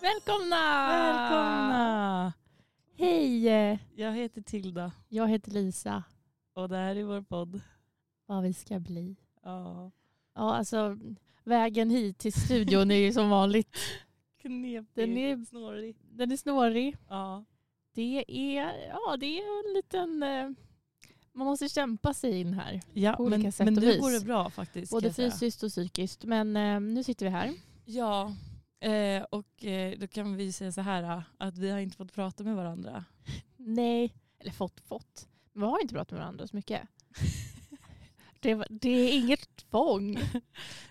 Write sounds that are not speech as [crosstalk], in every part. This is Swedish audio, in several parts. Välkomna! Välkomna! Hej! eh, Ah. Jag heter Tilda Jag heter Lisa. och det här är vår podd. Vad vi ska bli. Ja. Ja, alltså vägen hit till studion är ju som vanligt. Knepig, Den är- snårig. Den är snårig. Ja. Det är, ja, det är en liten... eh, Man måste kämpa sig in här. ja På olika men, sätt men och nu vis. går det bra faktiskt. kan Både jag säga. fysiskt och psykiskt. Men eh, nu sitter vi här. Ja, eh, och eh, då kan vi säga så här ah, att vi har inte fått prata med varandra. Nej. Eller fått, fått. Vi har inte pratat med varandra så [laughs] mycket. Det, var- det är inget [laughs] tvång.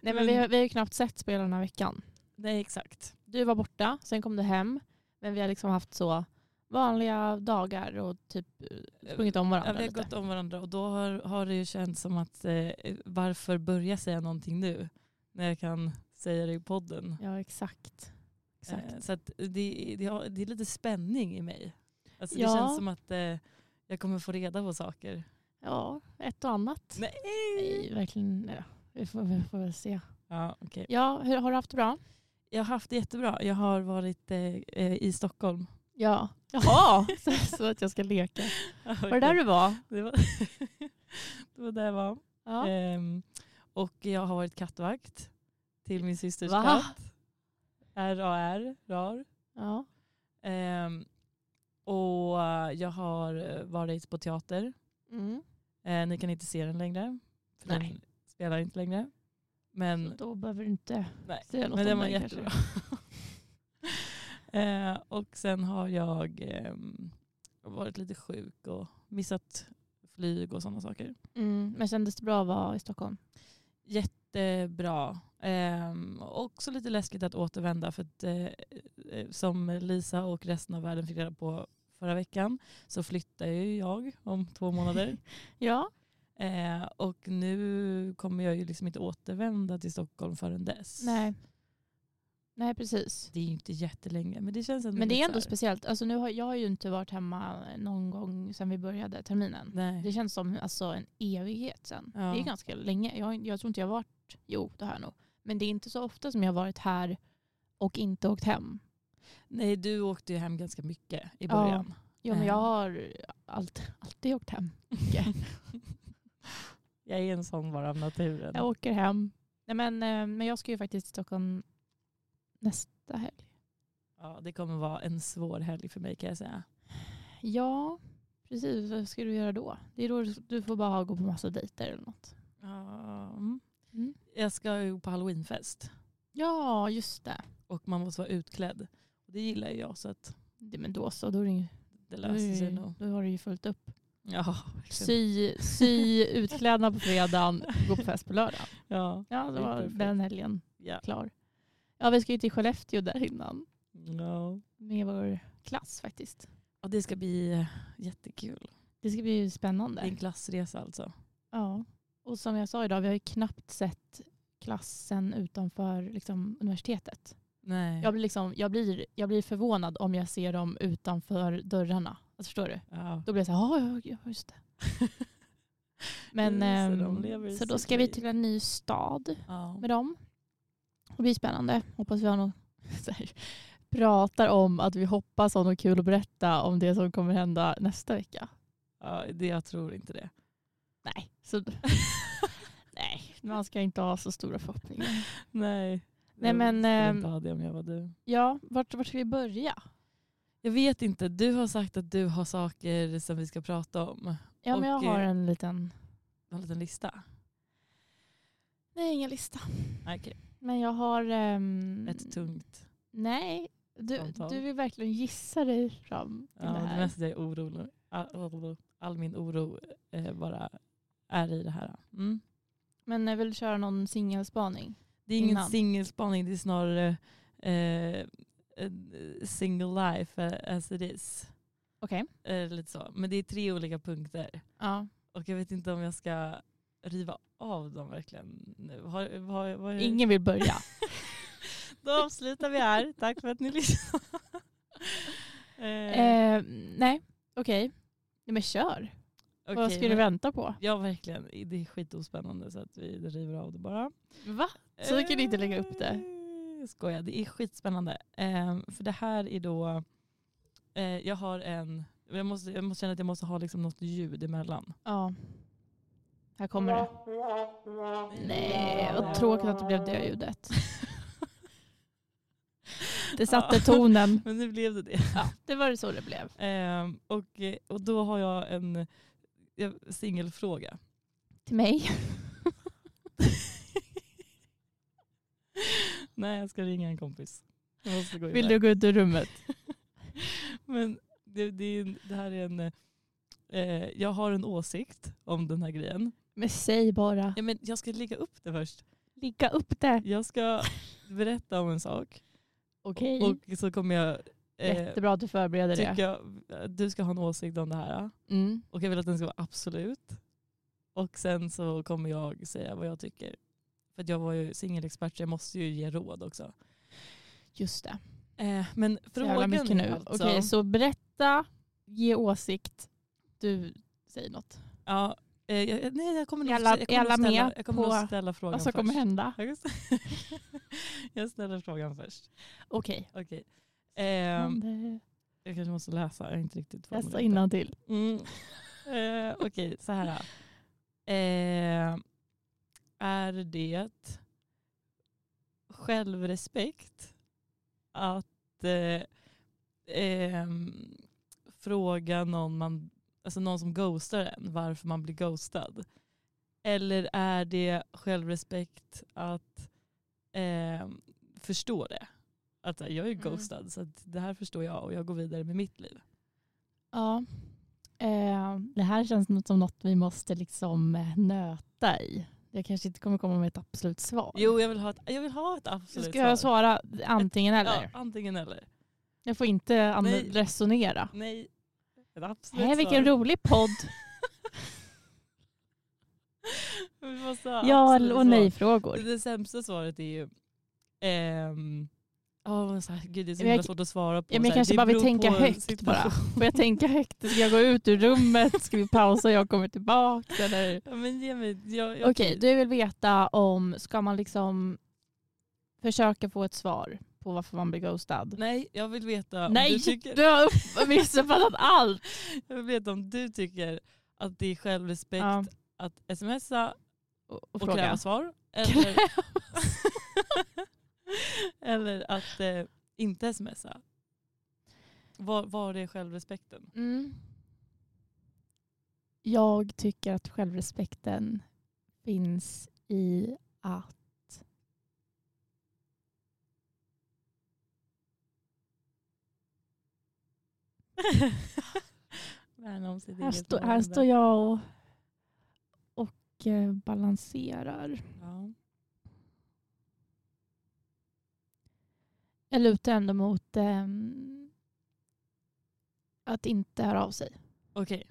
Nej, men vi, har- vi har ju knappt sett spelarna den här veckan. Nej exakt. du var borta, sen kom du hem. Men vi har liksom haft så vanliga dagar och typ sprungit om Ja, varandra vi har lite. gått om varandra och då har, har det ju känts som att eh, varför börja säga någonting nu när jag kan säga det i podden. Ja, exakt. exakt. Eh, Så att det, det, har, det är lite spänning i mig. Alltså Ja. Det känns som att eh, jag kommer få reda på saker. Ja, ett och annat. Nej! Nej, verkligen. nej då. Vi får, vi får väl se. Ja, okej. Ja, hur har du haft det bra? Jag har haft det jättebra. Jag har varit eh, eh, i [laughs] Stockholm. Ja. Jaha! [laughs] så, så att jag ska leka. Var det där du var? Det var, [laughs] det var där jag var. Ja. Ehm, och jag har varit kattvakt till min systers Va? katt. RAR, RAR. ja. Ehm, och eh, jag har varit på teater. Mm. Eh, ni kan inte se den längre. För Nej. Den spelar inte längre. Men, Då behöver du inte nej, säga något Mm. men den om var det jättebra. kanske. eh, och sen har jag ehm, varit lite sjuk och missat flyg och sådana saker. Mm. Men kändes det bra att vara i Stockholm? Jättebra. Ehm, också lite läskigt att återvända för att eh, eh, som Lisa och resten av världen fick reda på förra veckan så flyttar ju jag om [laughs] två månader. Ja. Eh, och nu kommer jag ju liksom inte återvända till Stockholm förrän dess. Nej. Nej, precis. Det är ju inte jättelänge men det känns ändå Men det är lite ändå så här- speciellt. Alltså nu har, jag har ju inte varit hemma någon gång sedan vi började terminen. Nej. Det känns som alltså, en evighet sedan. Ja. Det är ganska länge. Jag, har- jag tror inte jag har varit, jo det här nog. Men det är inte så ofta som jag har varit här och inte åkt hem. Nej du åkte ju hem ganska mycket i början. Jo, men jag Mm. har allt, alltid åkt hem. [laughs] Jag är en sån bara av naturen. Jag åker hem. Nej, men, eh, men jag ska ju faktiskt till Stockholm nästa helg. Ja, det kommer vara en svår helg för mig kan jag säga. Ja, precis. Vad ska du göra då? Det är då du- du får bara gå på massa dejter eller något. Ja, mm. Mm. Jag ska ju på halloweenfest Ja, just det. och man måste vara utklädd. Och det gillar ju jag så att det men då så, då är det ju Då, det är löser det sig ju- nog. då har du ju fullt upp. Ja, verkligen. Sy, [laughs] sy utklädnad på fredagen, gå på fest på lördagen. ja. Ja, Det då är var perfekt. den helgen ja. klar. Ja, vi ska ju till Skellefteå där innan Ja. med vår klass faktiskt. Och det ska bli eh, jättekul. Det ska bli Det är en spännande. klassresa alltså. Ja. Och som jag sa idag, vi har ju knappt sett klassen utanför liksom, universitetet. Nej. Jag blir, liksom, jag, blir, jag blir förvånad om jag ser dem utanför dörrarna. Alltså, förstår du? Ja. [laughs] Då blir jag så här, "Ja, ja, ja, just det. Men, Just det, Mm, de ehm, lever i så då sitt ska vi liv. Mm. till en ny stad Ja. med dem. Det blir spännande. Hoppas vi har något [laughs] så här, pratar om att vi hoppas ha något kul att berätta om det som kommer hända nästa vecka. Ja, det, jag tror inte det. Nej, så, [laughs] nej man ska inte ha så stora förhoppningar. Nej. Nej, jag men, skulle ehm, inte ha det om jag var du. Ja, vart, vart ska vi börja? Jag vet inte, du har sagt att du har saker som vi ska prata om. Ja, men jag Och, har eh, en liten... Du har en liten lista. Nej, ingen lista. Okay. Men jag har... ehm, Ett tungt. Nej, du, samtal. du vill verkligen gissa dig fram till Ja, det det här. mesta jag är orolig. All, all min oro eh, bara är i det här. Mm. Men jag vill köra någon singelspaning. Det är ingen Innan. singelspaning, det är snarare eh, eh, single life eh, as it is. Okej. Eh, lite så. Men det är tre olika punkter. Ja. Och jag vet inte om jag ska riva av dem verkligen nu. Har, har, har, Ingen vill börja. Då avslutar vi här. Tack för att ni lyssnade. [laughs] eh, [laughs] eh, nej, okej. Nej, men kör. Vad okej, ska du men- vänta på? Ja verkligen, det är skitospännande så att vi river av det bara. Va? Så vi kan inte lägga upp det? Eh, jag skojar. Det är skitspännande. Ehm, för det här är då, eh, jag har en, jag måste, jag måste känna att jag måste ha liksom något ljud emellan. Ja. Här kommer det. Nej, vad tråkigt att det blev det [laughs] ljudet. Det satte Ja. tonen. Men nu blev det det. Ja, det var så det blev. Ehm, och, eh, och då har jag en eh, [laughs] singelfråga. Till [laughs] mig. Nej, jag ska ringa en kompis. Jag måste gå Vill iväg. du gå ut ur rummet? Men det, det, är en- det här är en... Eh, jag har en åsikt om den här grejen. Men säg bara. Ja, men jag ska lägga upp det först. Ligga upp det. Jag ska berätta om en sak. Okej. Och så kommer jag eh, Jättebra att du förbereder det. tycka... Du ska ha en åsikt om det här. Mm. Och jag vill att den ska vara absolut. Och sen så kommer jag säga vad jag tycker. För att jag var ju singelexpert så jag måste ju ge råd också. Just det. Eh, men Så jävla frågan mycket nu. är alltså... Okej, så berätta, ge åsikt. Du säger något. Ja, eh, jag, nej, jag kommer nog Är alla- jag kommer är alla nog ställa, med jag kommer nog på ställa frågan Vad som först. kommer hända? Jag, [laughs] jag ställer frågan först. Okej. Okej. Ehm, Um, jag kanske måste läsa, jag har inte riktigt Läsa formulerat innantill. det. Mm. Eh, Okej, så här. då. Eh, är det självrespekt att eh, ehm, fråga någon, man, alltså någon som ghostar en varför man blir ghostad? Eller är det självrespekt att ehm, förstå det? Att så här, jag är ju Mm. ghostad så att det här förstår jag och jag går vidare med mitt liv. Ja. Eh, Ehm, det här känns något som något vi måste liksom eh, nöta i. Jag kanske inte kommer komma med ett absolut svar. Jo, jag vill ha ett, jag vill ha ett Så absolut ska jag svara antingen eller? Ja, antingen eller. Jag får inte an- Nej. resonera. Nej, ett absolut Nej, vilken svar. rolig podd. [laughs] Vi måste ha absolut Ja och svar. nej-frågor. Det sämsta svaret är ju... Ehm, oh, så här, gud, det är så Men jag- himla svårt att svara på. Ja, men jag så här, kanske det bara vill beror tänka på högt situation. bara. Får jag tänka högt? Ska jag gå ut ur rummet? Ska vi pausa och jag kommer tillbaka? Eller? Ja, men ge mig... Jag, jag, Okej, du vill veta om, ska man liksom försöka få ett svar på varför man blir ghostad? Nej, jag vill veta om Nej, du du, tycker... har upp- [laughs] missuppfattat allt. Jag vill veta om du tycker att det är självrespekt Ja, att smsa och, och och, fråga. kräva svar. Eller, [laughs] eller att eh, inte smsa. Var, var är självrespekten? Mm. Jag tycker att självrespekten finns i att [laughs] Värna om sitt här, eget stå, här mående. står jag och, och eh, balanserar. Ja. Jag lutar ändå mot ehm, att inte höra av sig. Okej.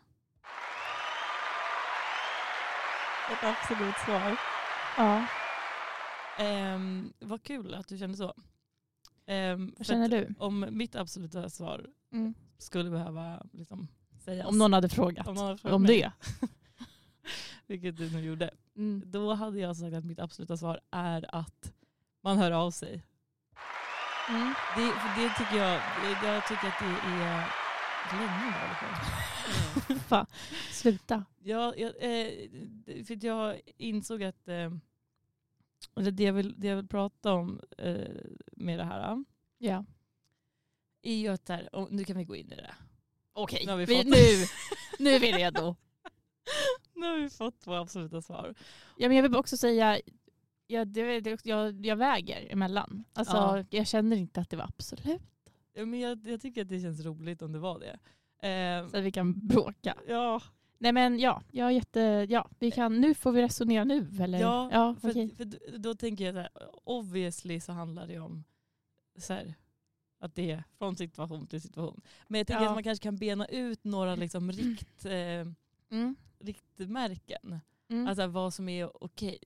Ett absolut svar. Ja, Um, vad kul att du kände så. Ehm, för vad känner att du? Om mitt absoluta svar Mm. skulle behöva liksom, sägas. Om någon hade frågat Om om, någon hade frågat mig. det. Vilket du nu gjorde. Mm. Då hade jag sagt att mitt absoluta svar är att man hör av sig. Mm. Det, för det tycker jag, det- jag tycker att det är länge nu i alla fall. Fan, Sluta. [laughs] Ja, jag, eh, det- för att jag insåg att eh, eller det, jag vill, det jag vill prata om eh, med det här eh, Ja. är ju att så här, och nu kan vi gå in i det. Okej, Nu har vi vi- fått- nu, nu är vi redo. [laughs] Nu har vi fått våra absoluta svar. [laughs] Ja, men jag vill också säga, ja, det, det, jag, jag väger emellan. Alltså, Ja. Jag känner inte att det var absolut. Ja, Men jag, jag tycker att det känns roligt om det var det. Eh, Så att vi kan bråka. ja, Nej men ja, jag är jätte, ja vi kan, nu får vi resonera nu eller? ja, ja för, okej. att- för då- då tänker jag så här, obviously så handlar det om så här, att det är från situation till situation. Men jag tänker Ja. att man kanske kan bena ut några liksom rikt, eh, Mm. riktmärken. Mm. Alltså vad som är okej.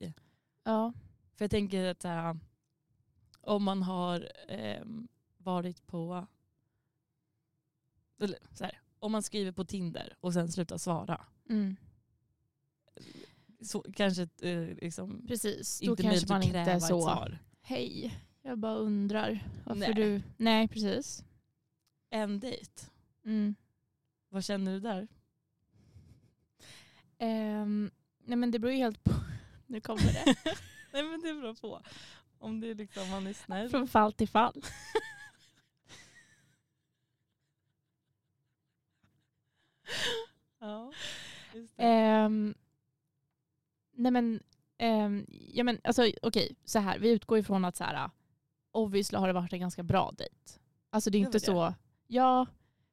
ja. För jag tänker att så här, om man har ehm, varit på... Eller, så här, om man skriver på Tinder och sen slutar svara. Mm. Så, kanske liksom eh, liksom, Preske då inte kanske möjligt man att inte kräva är typ ett så, svar. hej, Jag bara undrar varför Nej. du... Nej, precis. En dejt. Mm. Vad känner du där? Ehm, nej men det beror ju helt på. [laughs] Nu kommer [laughs] det. Nej men det beror på. Om det är liksom han är snäll. Från fall till fall. Ja, just det. Ehm, nej men, ehm, ja men alltså, okej, så här. Vi utgår ifrån att så här, obviously har det varit en ganska bra dejt. Alltså det är Det inte var så, ja.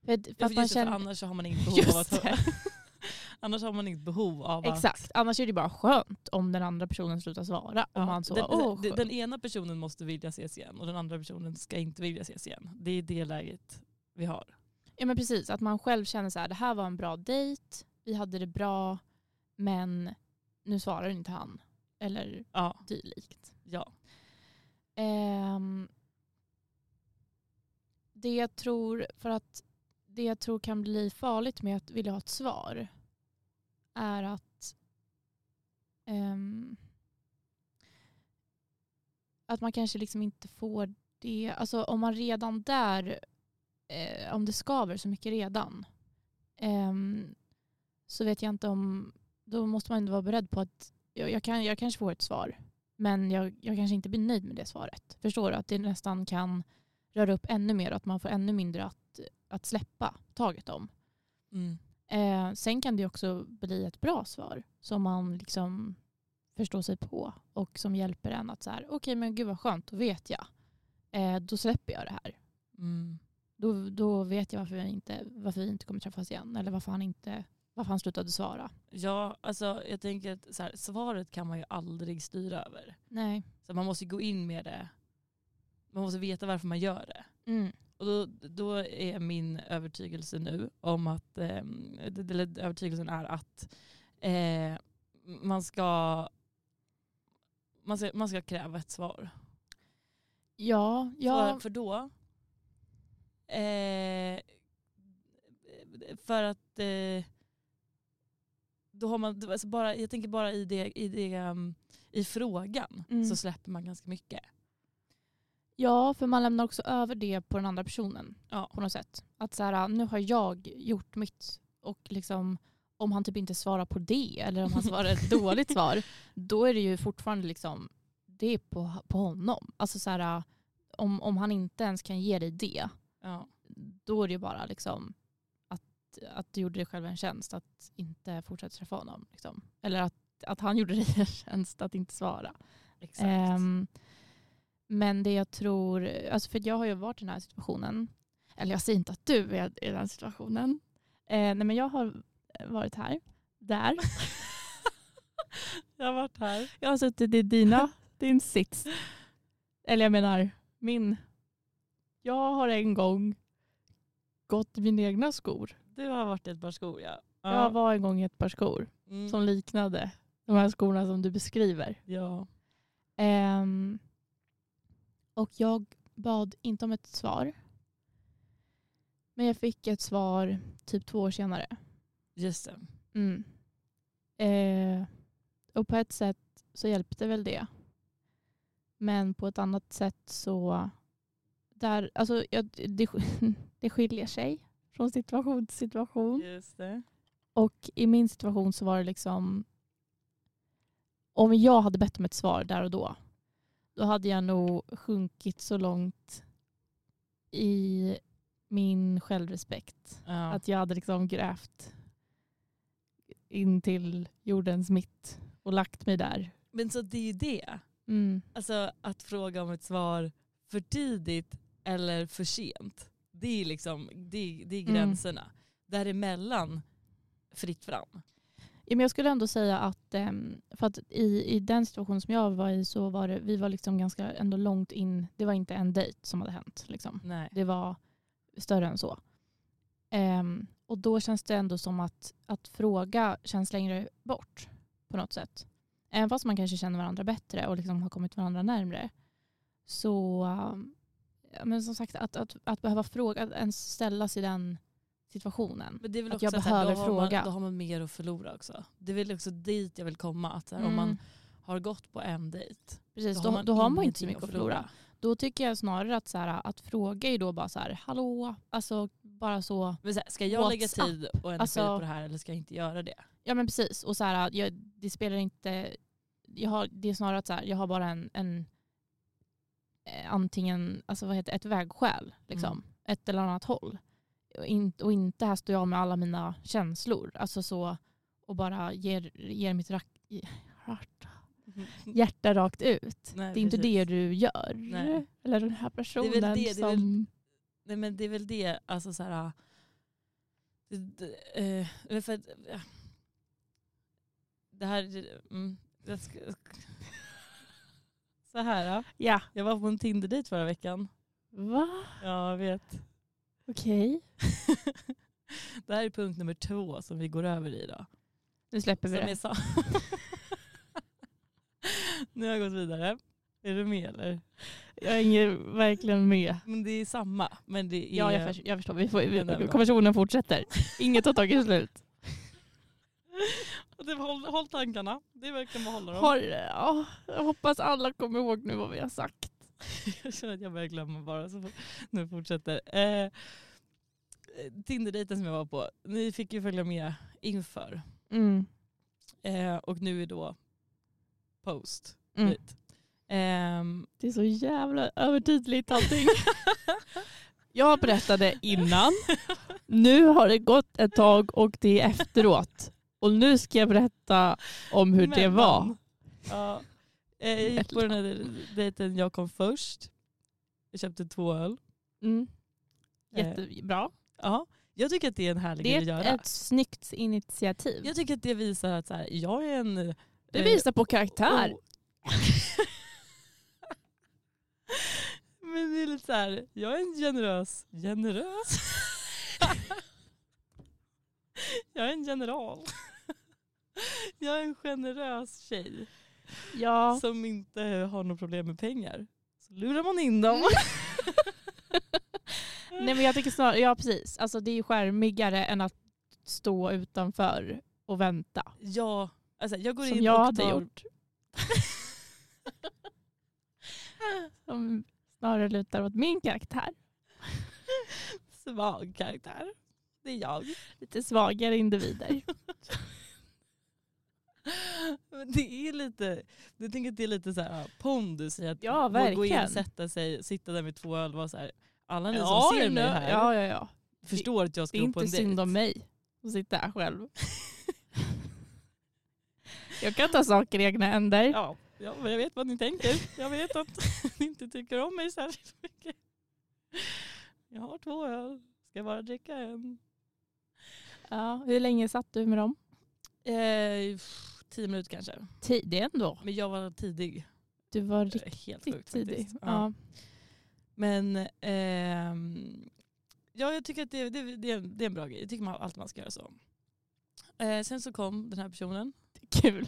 För, att- för Ja, att för man just det, för känner, annars så har man inget behov av Just att... [laughs] annars har man inget behov av att... exakt, annars är det bara skönt om den andra personen slutar svara. Ja, Om man så, den, åh, den, skönt. den ena personen måste vilja ses igen och den andra personen ska inte vilja ses igen. Det är det läget vi har. Ja men precis, att man själv känner så här, det här var en bra dejt, vi hade det bra, men nu svarar inte han. Eller Ja, dylikt. ja. Ehm, det jag tror, för att det jag tror kan bli farligt med att vilja ha ett svar är att ehm, att man kanske liksom inte får det, alltså om man redan där, eh, om det skaver så mycket redan, ehm, så vet jag inte om, då måste man ändå vara beredd på att jag, jag, kan, jag kanske får ett svar, men jag, jag kanske inte blir nöjd med det svaret. Förstår du? Att det nästan kan röra upp ännu mer och att man får ännu mindre att, att släppa taget om. Mm. Eh, sen kan det också bli ett bra svar som man liksom förstår sig på och som hjälper en att så här, okej men gud vad skönt, då vet jag. Eh, då släpper jag det här. Mm. Då, då vet jag varför, jag inte, varför vi inte kommer träffas igen eller varför han, inte, varför han slutade svara. Ja, alltså jag tänker att så här, svaret kan man ju aldrig styra över. Nej. Så man måste gå in med det. Man måste veta varför man gör det. Mm. Och då, då är min övertygelse nu om att, ehm, det- eller övertygelsen är att eh, man, ska, man, ska, man ska kräva ett svar. Ja, För, ja, för då, eh, för att eh, då har man, alltså bara, jag tänker bara i, det, i, det, ehm, i frågan Mm. så släpper man ganska mycket. ja, för man lämnar också över det på den andra personen. Ja. på något sätt. Att så här, nu har jag gjort mitt och liksom, om han typ inte svarar på det eller om han svarar ett dåligt svar, då är det ju fortfarande liksom, det är på, på honom. Alltså så här, om, om han inte ens kan ge dig det, Ja. då är det ju bara liksom att, att du gjorde dig själv en tjänst att inte fortsätta träffa honom. Liksom. Eller att, att han gjorde dig en tjänst att inte svara. Exakt. Ehm, men det jag tror, alltså för jag har ju varit i den här situationen, eller jag säger inte att du är i den här situationen. Eh, nej men jag har varit här, [laughs] där. jag har varit här. Jag har suttit i dina, din sits. Eller jag menar min. Jag har en gång gått i mina egna skor. Du har varit i ett par skor ja. Jag var en gång i ett par skor Mm. som liknade de här skorna som du beskriver. ja. Ehm, och jag bad inte om ett svar. Men jag fick ett svar typ två år senare. Just det. Mm. Eh, och på ett sätt så hjälpte väl det. Men på ett annat sätt så... Där, alltså, jag, det, [laughs] det skiljer sig från situation till situation. Just det. Och i min situation så var det liksom, om jag hade bett om ett svar där och då, då hade jag nog sjunkit så långt i min självrespekt. Ja. Att jag hade liksom grävt in till jordens mitt och lagt mig där. Men så det är ju det. Mm. Alltså att fråga om ett svar för tidigt eller för sent. Det är liksom det är, det är Mm. gränserna. Däremellan fritt fram. Ja, men jag skulle ändå säga att, ehm, för att i, i den situation som jag var i så var det, vi var liksom ganska ändå långt in, det var inte en dejt som hade hänt. Liksom. Nej. Det var större än så. Ehm, och då känns det ändå som att, att fråga känns längre bort på något sätt. Även fast man kanske känner varandra bättre och liksom har kommit varandra närmre. Så, um, ja, men som sagt, att, att, att behöva fråga, att ens ställas i den situationen. Men det är väl Att också jag så här, behöver då, har fråga. man, då har man mer att förlora också. Det är väl också dit jag vill komma. Att så här, Om Mm, man har gått på en dejt Precis, då, då har man inte så ingenting mycket att förlora. Då tycker jag snarare att, så här, att fråga är då bara så här, hallå, alltså bara så. Men så här, ska jag lägga WhatsApp. tid och energi Alltså- på det här eller ska jag inte göra det? Ja men precis, och så här, jag, det spelar inte, jag har, det är snarare att så här, jag har bara en, en eh, antingen, alltså vad heter det, ett vägskäl, liksom, Mm. ett eller annat håll. Och, in, och inte här står jag med alla mina känslor, alltså så, och bara ger, ger mitt rack, hjärta- hjärta rakt ut. [laughs] Nej, Mm. Det är inte precis. det du gör. Nej. Eller den här personen det, det är väl- som... Nej men det är väl det, alltså så här. Det, det, eh, för, att, eh, det här, mm, jag ska, så här. ja. Ja. Jag var på en Tinder-dejt förra veckan. Va? Ja, jag vet. [laughs] Okej. Det här är punkt nummer två som vi går över i idag. Nu släpper Som vi är det. sa- [laughs] nu har jag gått vidare. Är du med eller? Jag hänger verkligen med. Men det är samma. Men det är... Ja, jag, förs- jag förstår. Vi får, Den är vi, bra. konversationen fortsätter. Inget [laughs] har tagit slut. Det- håll, håll tankarna. Det är verkligen vad håller dem. Har, ja, jag hoppas alla kommer ihåg nu vad vi har sagt. Jag känner att jag börjar glömma bara. Så fort- nu fortsätter. Eh, Tinder-dejten som jag var på. Ni fick ju följa med inför. Mm, Eh, och nu är då post. Mm. Dit. Ehm, Det är så jävla övertydligt [laughs] allting. jag berättade [laughs] innan. Nu har det gått ett tag och det är efteråt. Och nu ska jag berätta om hur det Mellan. var. Ja. Eh, Jag gick på den här dejten, jag kom först. Jag köpte två öl. Mm. Eh, Jättebra. Ja. Jag tycker att det är en härlig Det grej att är göra. ett, ett snyggt initiativ. Jag tycker att det visar att så här, jag är en... eh, Det visar på karaktär. o- Oh. [laughs] Men det är lite så här, jag är en generös... Generös? [laughs] jag är en general. [laughs] jag är en generös tjej. Ja. som inte har något problem med pengar. Så lurar man in Mm. dem. Nej, men jag tycker snarare, ja precis. Alltså, det är ju skärmigare än att stå utanför och vänta. Ja, alltså jag går Som in jag och hade tar... gjort. Som snarare lutar åt min karaktär. [laughs] Svag karaktär. Det är jag. Lite svagare individer. [laughs] Men det är lite, jag tänker att det är lite så här pondus i att Ja, våga gå in verkligen. och sätta sig, sitta där med två öl och vara så här. Alla [laughs] ni Ja, som ser nu- mig här ja, ja, ja. förstår att jag Det ska är gå på inte en synd om mig att sitta här själv. [laughs] jag kan ta saker i egna händer. Ja, ja, men jag vet vad ni tänker. Jag vet att [laughs] ni inte tycker om mig särskilt mycket. Jag har två öl, ska bara dricka en. Ja, hur länge satt du med dem? Eh, pff, tio minuter kanske. Tidig ändå. Men jag var tidig. Du var Det riktigt är Helt sjukt tidig. faktiskt. Ja. Ja. Men ehm, ja, jag tycker att det, det, det, är en, det är en bra grej. Jag tycker man, alltid man ska göra så. Eh, sen så kom den här personen. Kul.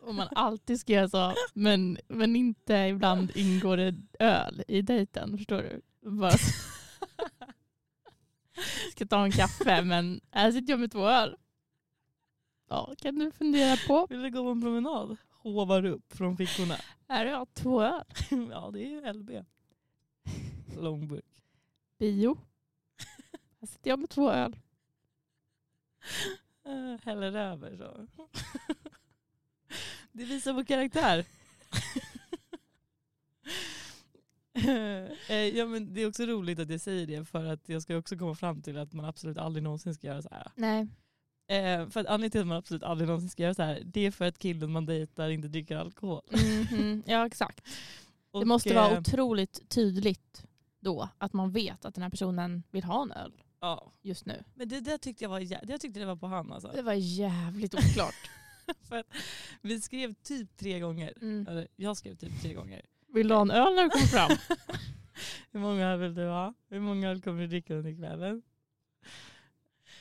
Om man alltid ska göra så, men, men inte ibland ingår det öl i dejten. Förstår du? Bara ska ta en kaffe, men här sitter jag med två öl. Ja, kan du fundera på. Vill du gå på en promenad? Hovar upp från fickorna. [laughs] Här har jag två öl. ja, det är LB. Långburk. [laughs] Bio. Här sitter jag med två öl. Eh, häller över så. [laughs] det visar på karaktär. [laughs] Eh, ja, men det är också roligt att jag säger det för att jag ska också komma fram till att man absolut aldrig någonsin ska göra så här. Nej. Eh, för att anledningen till att man absolut aldrig någonsin ska göra så här det är för att killen man dejtar inte dricker alkohol. mhm, Ja, exakt. Och, det måste eh, vara otroligt tydligt då att man vet att den här personen vill ha en öl ja. just nu. Men det där tyckte jag var, jä- jag tyckte det var på han alltså. Det var jävligt oklart. för att vi skrev typ tre gånger. Mm. Eller, jag skrev typ tre gånger. Vill du ha en öl när du kommer fram? Hur många öl vill du ha? Hur många öl kommer du dricka under kvällen?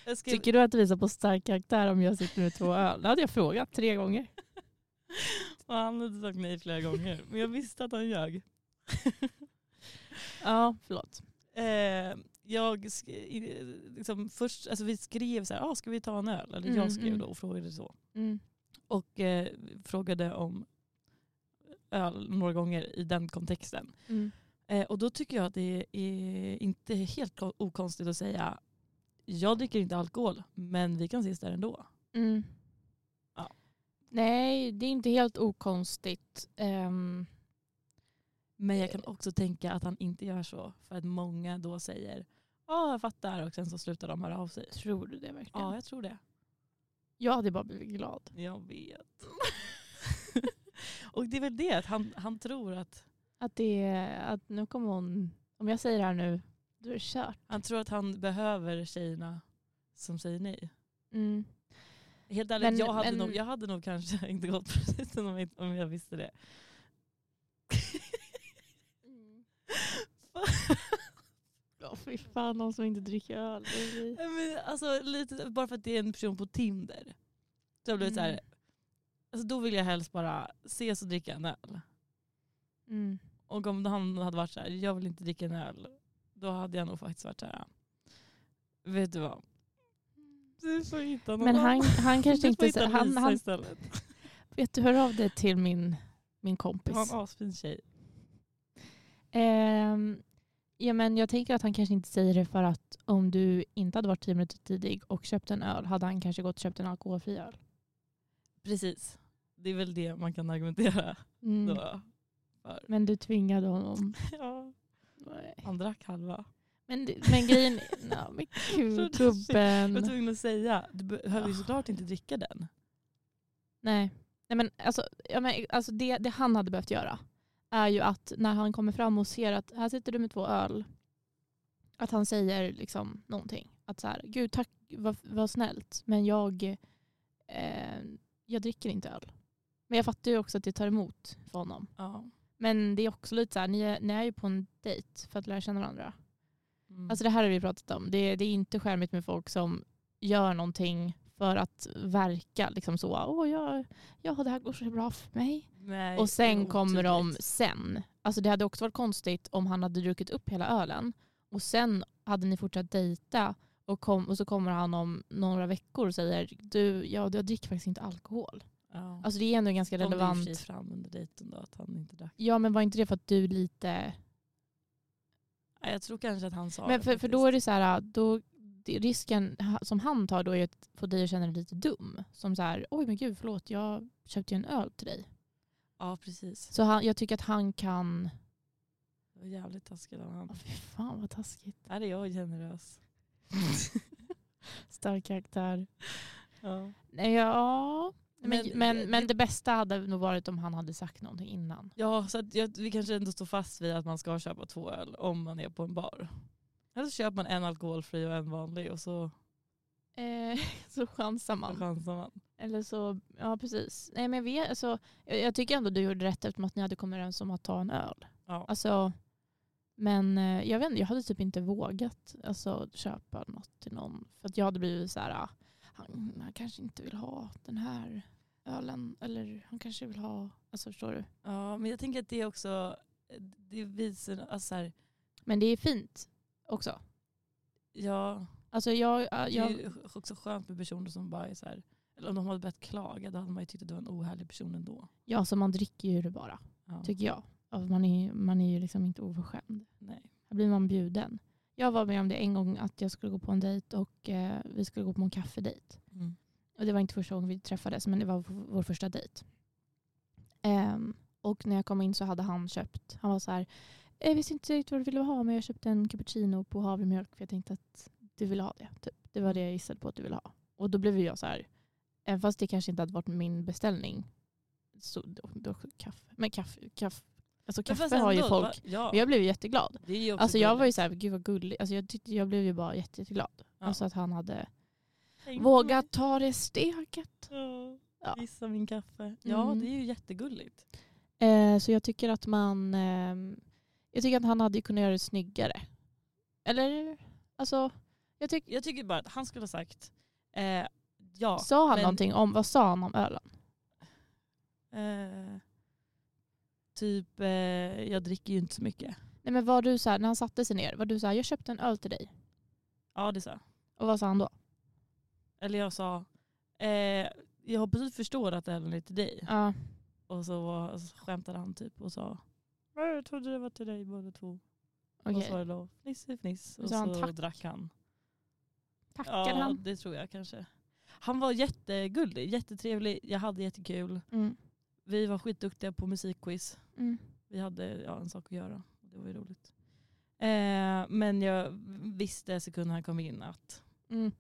Jag skrev, Tycker du att det visar på stark karaktär om jag sitter med två öl? Det hade jag frågat tre gånger. och han hade sagt nej flera gånger. Men jag visste att han ljög. Ja, förlåt. Eh, jag sk- i- liksom, först, alltså vi skrev så här, ah, ska vi ta en öl? Eller Mm, jag skrev mm. då och frågade så. Och eh, frågade om öl några gånger i den kontexten. Mm. Eh, och då tycker jag att det är inte helt ko- okonstigt att säga jag dricker inte alkohol men vi kan ses där ändå. Mm. Ja. Nej, det är inte helt okonstigt. Ehm, Men jag kan också tänka att han inte gör så för att många då säger ja jag fattar och sen så slutar de höra av sig. tror du det verkligen? Ja jag tror det. Jag hade bara blivit glad. Jag vet. [laughs] och det är väl det att han, han tror att Att, det, är- att nu kommer hon, om jag säger det här nu, då är det kört. Han tror att han behöver tjejerna som säger nej. Mm. Helt ärligt, Men- jag, hade men- nog, jag hade nog kanske [laughs] inte gått på dejten om, jag- om jag visste det. Ja, fy fan, någon som inte dricker öl. det blir- Men, alltså, lite, bara för att det är en person på Tinder. Så jag blev så här, Mm. alltså, då vill jag helst bara ses och dricka en öl. Mm. Och om han hade varit så här, jag vill inte dricka en öl. Då hade jag nog faktiskt varit så här, vet du vad? Du får hitta någon Men han, annan. [laughs] han Du kanske får inte... hitta så- Han, Lisa han, istället. vet du, hör av dig till min, min Han kompis. var en asfin tjej. Ehm, ja, men jag tänker att han kanske inte säger det för att om du inte hade varit tio minuter tidig och köpt en öl hade han kanske gått och köpt en alkoholfri öl. Precis. Det är väl det man kan argumentera Mm. då. För. Men du tvingade honom. Ja. Han drack halva. Men, det- men grejen... [laughs] no, men Så gud, det- Jag var gubben. tvungen att säga, du behöver ju Ah. såklart inte dricka den. Nej. Nej men alltså, ja, men, alltså det, det han hade behövt göra är ju att när han kommer fram och ser att här sitter du med två öl. Att han säger liksom någonting. Att så här, gud tack vad, vad snällt men jag, eh, jag dricker inte öl. Men jag fattar ju också att det tar emot för honom. Ja. Men det är också lite så här, ni är, ni är ju på en dejt för att lära känna varandra. Mm. Alltså det här har vi pratat om. Det, det är inte charmigt med folk som gör någonting för att verka liksom så. Åh, jag, ja, det här går så bra för mig. Nej, och det sen är kommer de otydligt. sen. Alltså det hade också varit konstigt om han hade druckit upp hela ölen och sen hade ni fortsatt dejta och, kom, och så kommer han om några veckor och säger du, ja, jag dricker faktiskt inte alkohol. Ja. Alltså det är ändå ganska Kom det i och för sig relevant. fram under dejten då att han inte drack. Ja men var inte det för att du lite Nej, jag tror kanske att han sa Men det för, för då är det så här, äh, då, det, risken ha- som han tar då är att få dig att känna dig lite dum. Som så här, oj men gud förlåt jag köpte ju en öl till dig. Ja precis. Så han, jag tycker att han kan, Det var jävligt taskigt av oh, honom. fy fan vad taskigt. [laughs] Där är jag generös. Stark karaktär. ja. Nej, ja, men, Men- men, men det bästa hade nog varit om han hade sagt någonting innan. Ja, så att jag, vi kanske ändå står fast vid att man ska köpa två öl om man är på en bar. Eller så köper man en alkoholfri och en vanlig och så Eh, [laughs] så chansar man. chansar man. Eller så, ja precis. Nej, men jag, vet, alltså, jag, jag tycker ändå du gjorde rätt eftersom att ni hade kommit överens om att ta en öl. Ja. Alltså, men eh, jag vet inte, jag hade typ inte vågat alltså, köpa något till någon. För att jag hade blivit så här, ah, han, han kanske inte vill ha den här ölen. Eller han kanske vill ha, alltså förstår du? ja, men jag tänker att det är också, det visar, alltså så här, Men det är fint också. ja, Alltså jag, ja, det är jag ju också skönt med personer som bara är så här, eller om de hade börjat klaga då hade man ju tyckt att det var en ohärlig person ändå. ja, så man dricker ju det bara, Ja. tycker jag. Alltså, man, är, man är ju liksom inte oförskämd. Nej. Här blir man bjuden. Jag var med om det en gång att jag skulle gå på en dejt och eh, vi skulle gå på en kaffedejt. Mm. Och det var inte första gången vi träffades men det var v- vår första dejt. Ehm, och när jag kom in så hade han köpt, han var så här, jag visste inte riktigt vad du ville ha men jag köpte en cappuccino på havremjölk för jag tänkte att du ville ha det. Typ. Det var det jag gissade på att du ville ha. Och då blev ju jag så här, även fast det kanske inte hade varit min beställning, så det var också kaffe. Men kaffe, kaffe, alltså Men fast kaffe har ju ändå, folk. va- Ja, Men jag blev ju jätteglad. det är ju också Alltså jag var ju gulligt. så här, gud vad gullig. Alltså jag, tyckte, jag blev ju bara jätte, jätteglad. Ja. Alltså att han hade Tänk vågat ta det steget. mig. Ja. Ja. Gissa min kaffe. Ja, Mm. det är ju jättegulligt. Eh, så jag tycker att man... ehm, jag tycker att han hade ju kunnat göra det snyggare. Eller? Alltså, jag tyck, Jag tycker bara att han skulle ha sagt, eh, ja, sa han men- någonting om... Vad sa han om ölen? Eh, typ, eh, jag dricker ju inte så mycket. Nej men var du så här, när han satte sig ner, var du så här, jag köpte en öl till dig. Ja, det sa jag. Och vad sa han då? Eller jag sa, eh, jag hoppas du förstår att ölen är till dig. Ja. Och så, var, så skämtade han typ och sa jag trodde det var till dig båda två. Och så Okej. var det då fniss i fniss. Och sa han så tack? drack han. Tackar ja, han? det tror jag kanske. Han var jättegullig, jättetrevlig. Jag hade jättekul. Mm. Vi var skitduktiga på musikquiz. Mm. Vi hade ja, en sak att göra. Det var ju roligt. Eh, men jag visste sekunden han kom in att Mm.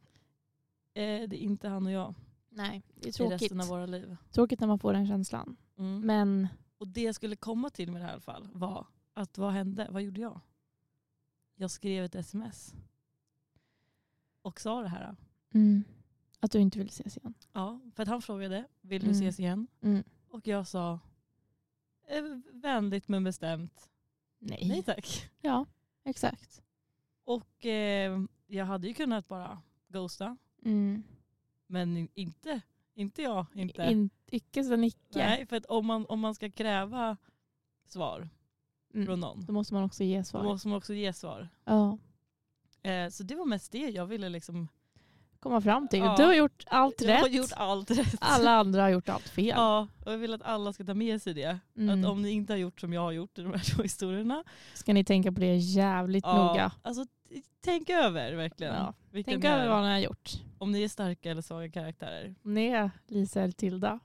eh, det är inte han och jag Nej, det är i tråkigt. resten av våra liv. Tråkigt när man får den känslan. Mm. Men Och det jag skulle komma till med det här i alla fall var att vad hände? Vad gjorde jag? Jag skrev ett sms. Och sa det här. mm, att du inte vill ses igen. Ja, för att han frågade, vill du Mm. ses igen? Mm. Och jag sa, eh, vänligt men bestämt, Nej. nej tack. Ja, exakt. Och eh, jag hade ju kunnat bara ghosta, Mm. men inte, inte jag. Inte. In, icke sen icke. nej, för att om man, om man ska kräva svar från Mm. någon, Då måste man också ge då svar. måste man också ge svar. Ja. Eh, så det var mest det jag ville liksom Komma fram till. Ja. Du har gjort allt Jag har rätt. gjort allt rätt. Alla andra har gjort allt fel. [laughs] Ja, och jag vill att alla ska ta med sig det. Mm. Att om ni inte har gjort som jag har gjort i de här [laughs] två historierna. Ska ni tänka på det jävligt noga. Alltså, t- tänk över verkligen. Ja, Vilken Tänk är- över vad ni har gjort. Om ni är starka eller svaga karaktärer. [laughs] Om ni är Lisa eller Tilda.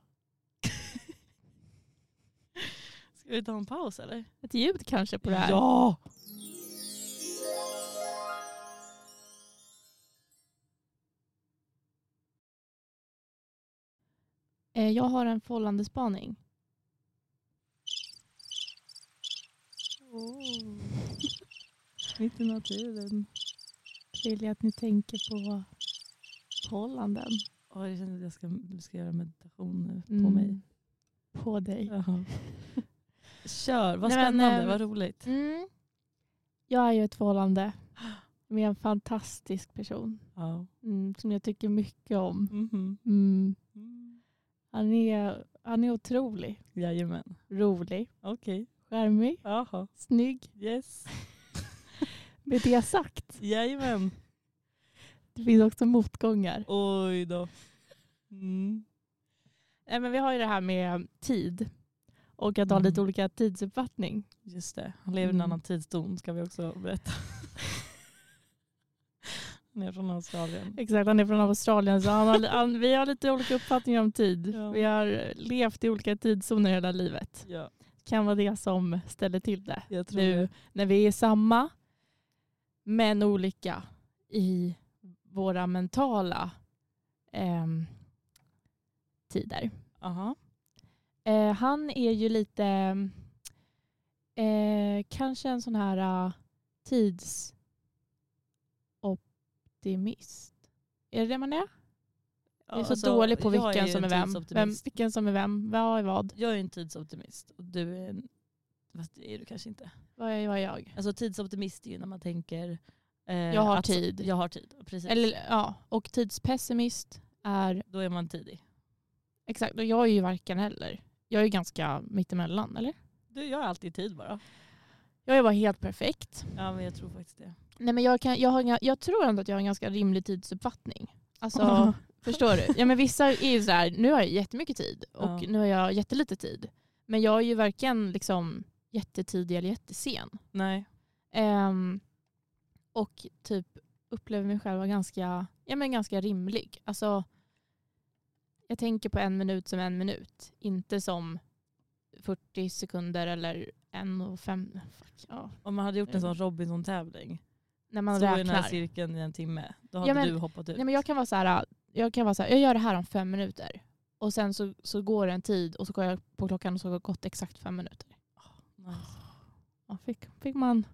Ska vi ta en paus eller? Ett ljud kanske på det här. Ja! Eh, Jag har en fållande spaning. Oh. Mitt i naturen. Vill jag att ni tänker på förhållanden. Åh, jag känner att jag ska, du ska göra meditation nu på Mm. mig. På dig. [laughs] Jaha. Kör, vad Nej, men, spännande, ehm, vad roligt. Mm. Jag är ju ett förhållande med en fantastisk person Ja. mm, som jag tycker mycket om. Mhm. Mm. Mm. Han, är, han är otrolig, Jajamän, rolig, okej. charmig, Jaha, snygg. yes. Med det sagt, Jajamän. det finns också motgångar. Oj då. Mm. Nej, men vi har ju det här med tid och att ha Mm. lite olika tidsuppfattning. Just det, han lever i en Mm. annan tidszon ska vi också berätta. [laughs] Han är från Australien. Exakt, han är från Australien så han har, han, vi har lite olika uppfattningar om tid. Ja. Vi har levt i olika tidszoner hela livet. Ja, Kan vara det som ställer till det. jag tror nu när vi är samma men olika i våra mentala ehm, tider. Aha. Eh, han är ju lite eh, kanske en sån här eh, tidsoptimist. Är det det man är? alltså, Jag är så dålig på alltså, jag vilken ju som är en vem. vem. tidsoptimist. Vilken som är vem. Vad är vad? Jag är en tidsoptimist och du är en... Fast det är du kanske inte. Vad är, vad är jag? Alltså tidsoptimist är ju när man tänker... eh, Jag har tid. Jag har tid, precis. Eller, ja, och tidspessimist är Då är man tidig. Exakt, och jag är ju varken heller. Jag är ju ganska mittemellan, eller? Du, jag har alltid tid bara. Jag är bara helt perfekt. Ja men jag tror faktiskt det. Nej, men jag, kan, jag, har, inga- jag tror ändå att jag har en ganska rimlig tidsuppfattning. [laughs] Alltså, [laughs] förstår du? Ja, men vissa är ju så här, nu har jag jättemycket tid och Ja. nu har jag jättelite tid. Men jag är ju varken liksom, jättetidig eller jättesen. Nej. Ehm, och typ upplever mig själv vara ganska, ja, men ganska rimlig. Alltså, jag tänker på en minut som en minut. Inte som 40 sekunder eller en och fem. Fuck, ja. Om man hade gjort en sån Robinson-tävling När Mm. man så i den här räknar. cirkeln i en timme, då Ja, hade men- du hoppat ut. Nej, men jag kan vara så här, jag kan vara så här, jag gör det här om fem minuter. Och sen så, så går det en tid och så går jag på klockan och så har det gått exakt fem minuter. Nice. Ja, fick, fick, man,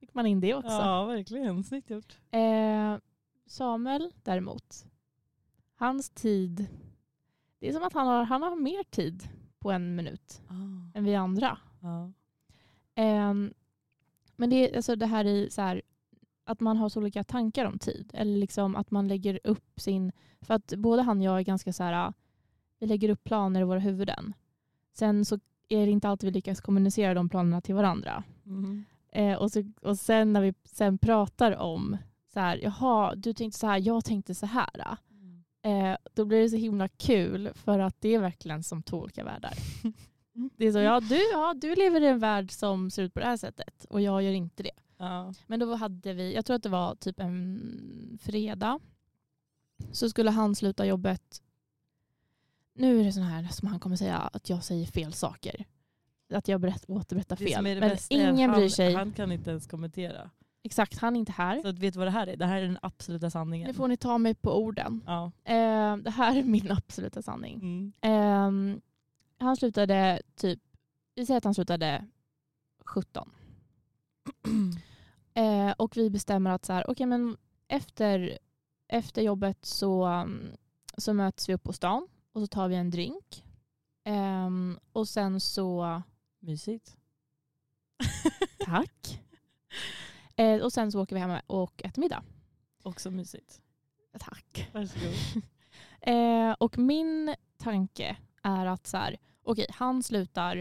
fick man in det också. Ja, verkligen. Snyggt gjort. Eh, Samuel däremot, hans tid, det är som att han har, han har mer tid på en minut än vi andra. Ja. Eh, men det är alltså det här i så här, att man har så olika tankar om tid. Eller liksom att man lägger upp sin... För att både han och jag är ganska så här, ah, vi lägger upp planer i våra huvuden. Sen så är det inte alltid vi lyckas kommunicera de planerna till varandra. Mhm. Eh, och, så, och sen när vi sen pratar om så här, jaha, du tänkte så här, jag tänkte så här. ah." [laughs] Eh, då blir det så himla kul för att det är verkligen som två olika världar. Mm. Det är så, ja du, ja du lever i en värld som ser ut på det här sättet och jag gör inte det. Ja. Men då hade vi, jag tror att det var typ en fredag, så skulle han sluta jobbet. Nu är det sån här som han kommer säga, att jag säger fel saker. Att jag berätt, återberättar Det fel. som är det Men bästa är att ingen han, bryr sig. Han kan inte ens kommentera. Exakt, han är inte här. Så att, vet du vad det här är? Det här är den absoluta Nu sanningen. får ni ta mig på orden. Ja. Eh, det här är min [laughs] absoluta sanning. Mm. Ehm, han slutade typ, vi säger att han slutade [clears throat] 17. Eh, och vi bestämmer att så här, okej, men efter, efter jobbet så, um, så möts vi upp på stan och så tar vi en drink. Ehm, och sen så, Mysigt. [laughs] tack. Eh, och sen så åker vi hem och äter middag. Också mysigt. Tack. Varsågod. Eh, och min tanke är att så här, okej, han slutar...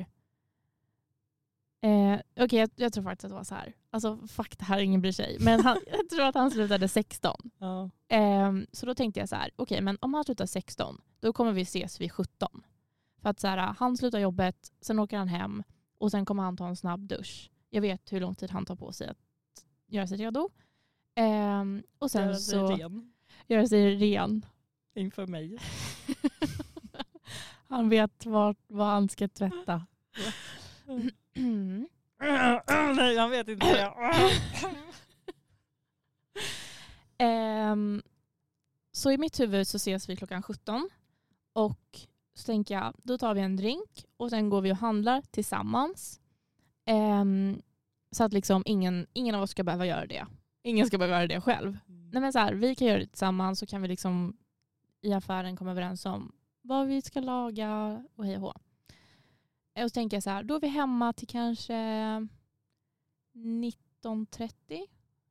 Eh, okej, jag, jag tror faktiskt att det var så här. Alltså fuck det här, ingen bryr sig. Men han, [laughs] jag tror att han slutade 16. Ja. Eh, så då tänkte jag så här, okej, men om han slutar 16, då kommer vi ses vid 17. För att så här, han slutar jobbet, sen åker han hem och sen kommer han ta en snabb dusch. Jag vet hur lång tid han tar på sig att göra sig redo. Eh, och sen Göra sig så ren göra sig ren. inför mig. [laughs] Han vet var, vad han ska tvätta. [clears throat] Nej, jag vet [clears throat] inte. det. [clears throat] Ehm, så i mitt huvud så ses vi klockan 17 och så tänker jag då tar vi en drink och sen går vi och handlar tillsammans. Ehm, så att liksom ingen, ingen av oss ska behöva göra det. Ingen ska behöva göra det själv. Nej men så här, vi kan göra det tillsammans så kan vi liksom i affären komma överens om vad vi ska laga och hej och hå. Eh, Och så tänker jag så här, då är vi hemma till kanske 19.30,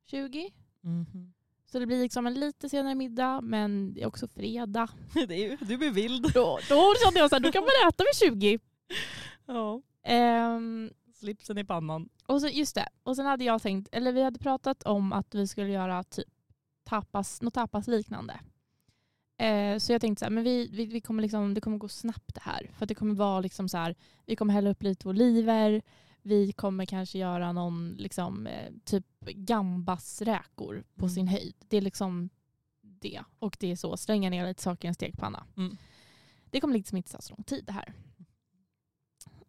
20. Mhm. Så det blir liksom en lite senare middag men det är också fredag. Det är ju- Du blir vild. Då, då kände jag så här, då kan man äta vid 20. Ja. Ehm, Slipsen i pannan. och så, just det, och sen hade jag tänkt, eller vi hade pratat om att vi skulle göra typ tapas, något tapasliknande. Eh, så jag tänkte så här, men vi, vi, vi kommer liksom, det kommer gå snabbt det här. För att det kommer vara liksom så här, vi kommer hälla upp lite oliver, vi kommer kanske göra någon liksom, eh, typ gambasräkor på Mm. sin höjd. Det är liksom det. Och det är så, slänga ner lite saker i en stekpanna. Mm. Det kommer liksom inte ta så lång tid det här.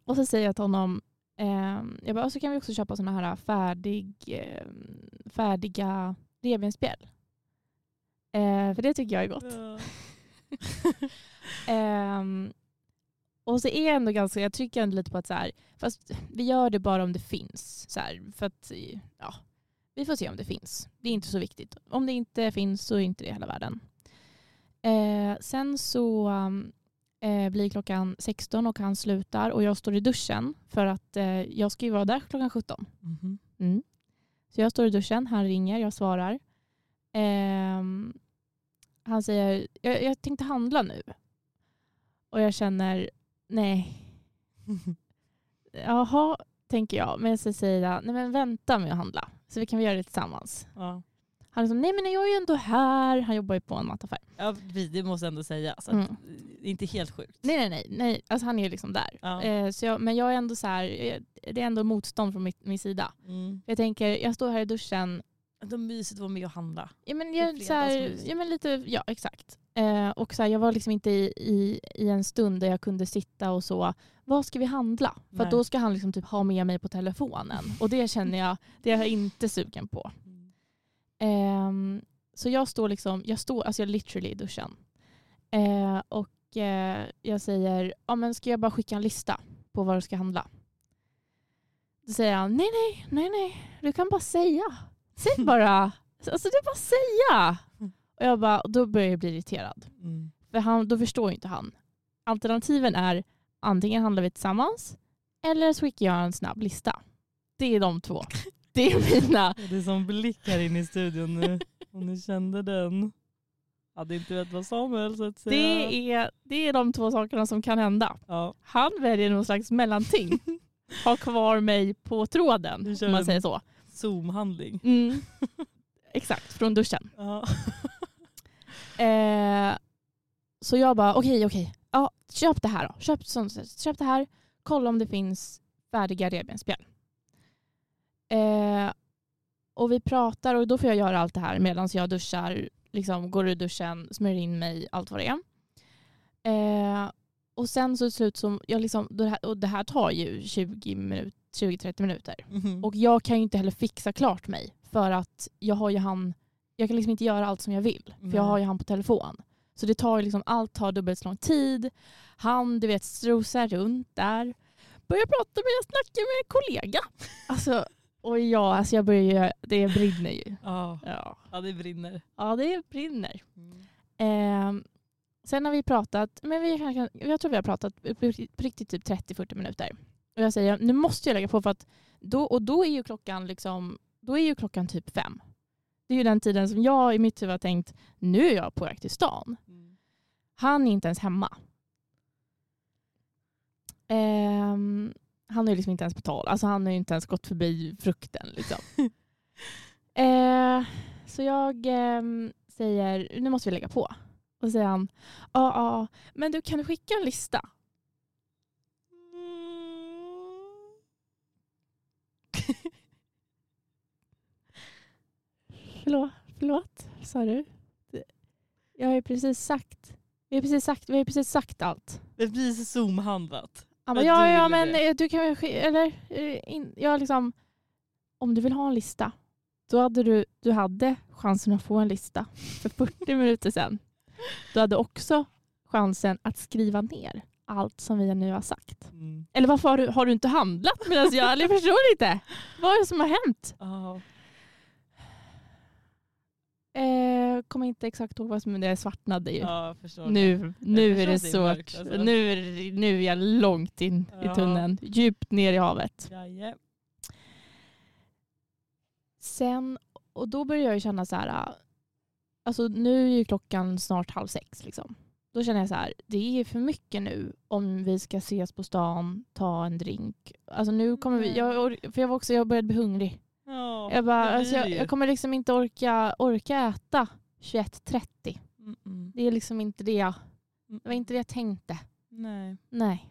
Och så säger jag till honom, ehm, jag bara, "Och så kan vi också köpa sådana här äh, färdig, ehm, färdiga revbensspjäll. Eh, för det tycker jag är gott. Ja. Ehm, och så är jag ändå ganska, jag trycker ändå lite på att så här, fast vi gör det bara om det finns. Så här, för att, ja, vi får se om det finns. Det är inte så viktigt. Om det inte finns så är inte det hela världen. Eh, sen så um, eh, blir klockan 16 och han slutar och jag står i duschen för att eh, jag ska ju vara där klockan 17. Mhm. Mm. Så jag står i duschen, han ringer, jag svarar. Ehm, han säger, jag, jag tänkte handla nu. Och jag känner, nej, [laughs] jaha, tänker jag. Men så säger jag, nej men vänta med att handla. Så vi kan vi göra det tillsammans. Ja. Han är som, nej men jag är ju ändå här. Han jobbar ju på en mataffär. Ja, vi- det måste ändå sägas. att Mm. Det är inte helt sjukt. Nej, nej, nej, nej. Alltså han är ju liksom där. Ja. Eh, så jag, men jag är ändå så här, eh, det är ändå motstånd från mitt, min sida. Mm. Jag tänker, jag står här i duschen, Det är mysigt att vara med och handla. Ja men, Det är jag, så här, fredagsmys. ja, men lite, ja exakt. Eh, och så här, jag var liksom inte i, i, i en stund där jag kunde sitta och så, vad ska vi handla? För Nej. att då ska han liksom typ ha med mig på telefonen. Och det känner jag, det är jag inte sugen på. Ehm, så jag står liksom, jag står, alltså jag är literally i duschen. Eh, och eh, jag säger, ja men ska jag bara skicka en lista på vad du ska handla? Då säger han, nej nej, nej nej, du kan bara säga. Säg bara, alltså det är bara att säga. Och jag bara, och då börjar jag bli irriterad. Mm. För han, då förstår ju inte han. Alternativen är antingen handlar vi tillsammans eller så skickar jag en snabb lista. Det är de två. Det är mina Det är som blickar in i studion nu. Om ni kände den. Hade inte vet vad Samuel så att säga. Det är, det är de två sakerna som kan hända. Ja, Han väljer någon slags mellanting. Ha kvar mig på tråden, Nu kör om man vi. säger så. Zoom-handling. Mm. Exakt, från duschen. Ja. Eh, så jag bara, okej, okej. Ja, köp det här då. Köp, sånt, köp det här. kolla om det finns färdiga revbensspjäll. Eh, och vi pratar och då får jag göra allt det här medan jag duschar, liksom, går ur duschen, smörjer in mig, allt vad det är. Eh, och sen så till slut, så jag liksom, då det, här, och det här tar ju 20 minut, 20-30 minuter. Mhm. Och jag kan ju inte heller fixa klart mig för att jag har ju han, jag kan liksom inte göra allt som jag vill för Nej. jag har ju han på telefon. Så det tar ju liksom, allt tar dubbelt så lång tid. Han, du vet, strosar runt där. Börjar prata med, jag snackar med en kollega. Alltså, och ja, alltså jag börjar ju, det brinner ju. ja. Ja, ja, det brinner. ja det brinner. Mm. Ehm, sen har vi pratat, men vi kan, jag tror vi har pratat på riktigt- på riktigt typ 30-40 minuter. Och jag säger, nu måste jag lägga på för att då, och då är ju klockan liksom, då är ju klockan typ fem. Det är ju den tiden som jag i mitt huvud har tänkt, nu är jag på väg till stan. Mm. [laughs] Han är inte ens hemma. Ehm, han är ju liksom inte ens på tal. Alltså han har ju inte ens gått förbi frukten. Liksom. Eh, så jag ehm, säger, nu måste vi lägga på. Och så säger han, ja ja, men du kan du skicka en lista? Förlåt, förlåt, sa du? Jag har ju precis sagt, vi har precis sagt, vi har precis sagt allt. Det blir så zoomhandlat. Han bara, Men ja, du ja ville men det." eh, du kan väl sk- eller eh, in, jag liksom, om du vill ha en lista, då hade du, du hade chansen att få en lista för [laughs] 40 minuter sedan. Du hade också chansen att skriva ner allt som vi nu har sagt. Mm. Eller varför har du, har du inte handlat medan jag, eller jag förstår inte. Vad är det som har hänt? Ja. Eh, kommer inte exakt ihåg vad som, det svartnade ju. ja, jag förstår. Nu, nu förstår är det att det är så, mörkt, alltså. nu, är det- nu är jag långt in Ja. i tunneln, djupt ner i havet. Jaje. Sen, och då börjar jag ju känna så här, äh, alltså nu är ju klockan snart halv sex liksom. Då känner jag så här, det är för mycket nu om vi ska ses på stan, ta en drink. Alltså nu kommer vi, jag, or- för jag var också, jag började bli hungrig. Ja, Jag, bara, det alltså, blir jag, det ju. jag kommer liksom inte orka, orka äta 21.30. Mm, mm. Det är liksom inte det jag, Mm, det var inte det jag tänkte. Nej. Nej.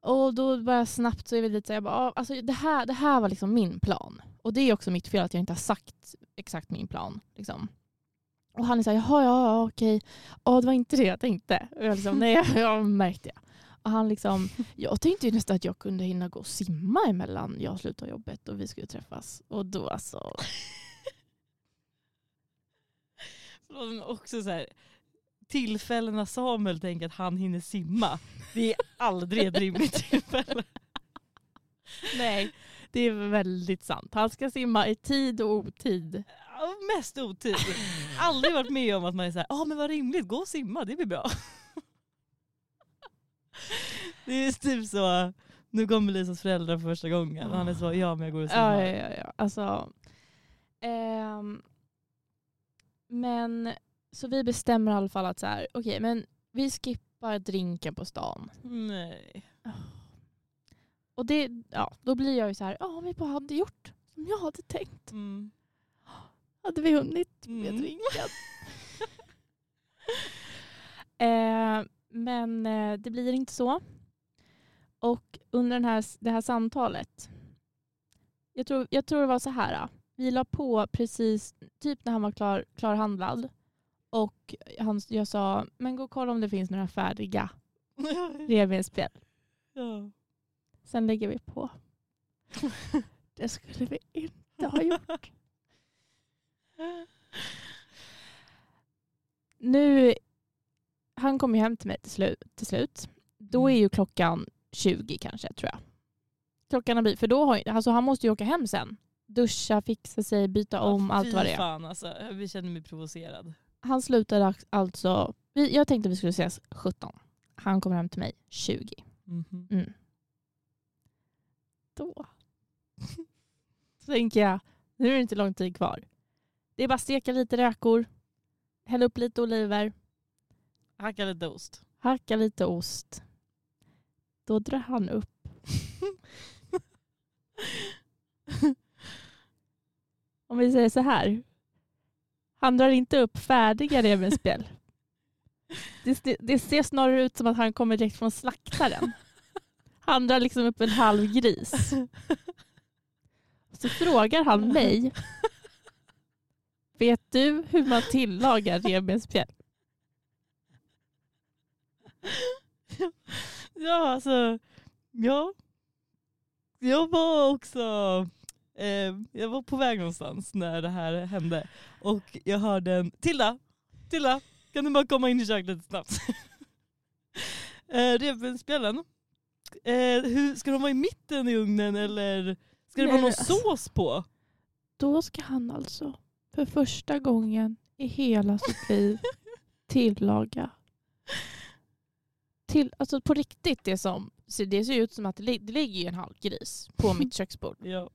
Och då bara snabbt så är vi lite så här, jag bara, "Ah, alltså det här, det här var liksom min plan. Och det är också mitt fel att jag inte har sagt exakt min plan. Liksom. Och han är så här, jaha, ja, ja, okej. Ja, det var inte det jag tänkte. Och jag liksom, nej, [laughs] jag märkte det. Och han liksom, jag tänkte ju nästan att jag kunde hinna gå och simma emellan jag slutade jobbet och vi skulle träffas. Och då alltså, Förlåt, men också så här, tillfällen när Samuel tänker att han hinner simma. Det är aldrig ett rimligt tillfälle. nej, det är väldigt sant. Han ska simma i tid och otid. Ja, Mest otur. Aldrig varit med om att man är så här, ja men vad rimligt, gå och simma, det blir bra. Det är typ så, nu kommer Lisas föräldrar för första gången och han är så, ja men jag går och Ja, simmar. ja, ja. ja. Alltså, ehm, men så vi bestämmer i alla fall att så här, okej, men vi skippar drinken på stan. Nej. Och det, ja, då blir jag ju så här, ja om vi bara hade gjort som jag hade tänkt. Mm. Hade vi hunnit med Mm. drinken. eh, men eh, det blir inte så. Och under den här, det här samtalet, jag tror, jag tror det var så här. ah. Vi la på precis typ när han var klar, klarhandlad. Och han, jag sa, men gå och kolla om det finns några färdiga revbensspjäll. [laughs] Ja. Sen lägger vi på. Det skulle vi inte ha gjort. Nu, han kom ju hem till mig till slut. Till slut. Då är Mm. ju klockan 20 kanske tror jag. Klockan har blivit, för då har, ju- alltså han måste ju åka hem sen. Duscha, fixa sig, byta om, Ja, allt vad fy det är. fan alltså, vi känner mig provocerad. Han slutade ax- alltså, vi, jag tänkte vi skulle ses 17. Han kommer hem till mig 20. Mhm. Mm. Då. [laughs] Så tänker jag, nu är det inte lång tid kvar. Det är bara att steka lite räkor, hälla upp lite oliver, Hacka lite ost. hacka lite ost. Då drar han upp. Om vi säger så här. Han drar inte upp färdiga revbensspjäll. Det, det ser snarare ut som att han kommer direkt från slaktaren. Han drar liksom upp en halv gris. Så frågar han mig. Vet du hur man tillagar revbensspjäll? Ja, alltså. Ja. Jag var också eh, jag var på väg någonstans när det här hände. Och jag hörde en Tilda, Tilda, kan du bara komma in i köket lite snabbt? [laughs] eh, Revbensspjällen, eh, hur- ska de vara i mitten i ugnen eller ska Nej, det vara någon men alltså- sås på? Då ska han alltså för första gången i hela sitt liv tillaga. Till, alltså på riktigt, det, som, så det ser ju ut som att det, li- det ligger ju en halv gris på mitt köksbord. [laughs] Ja.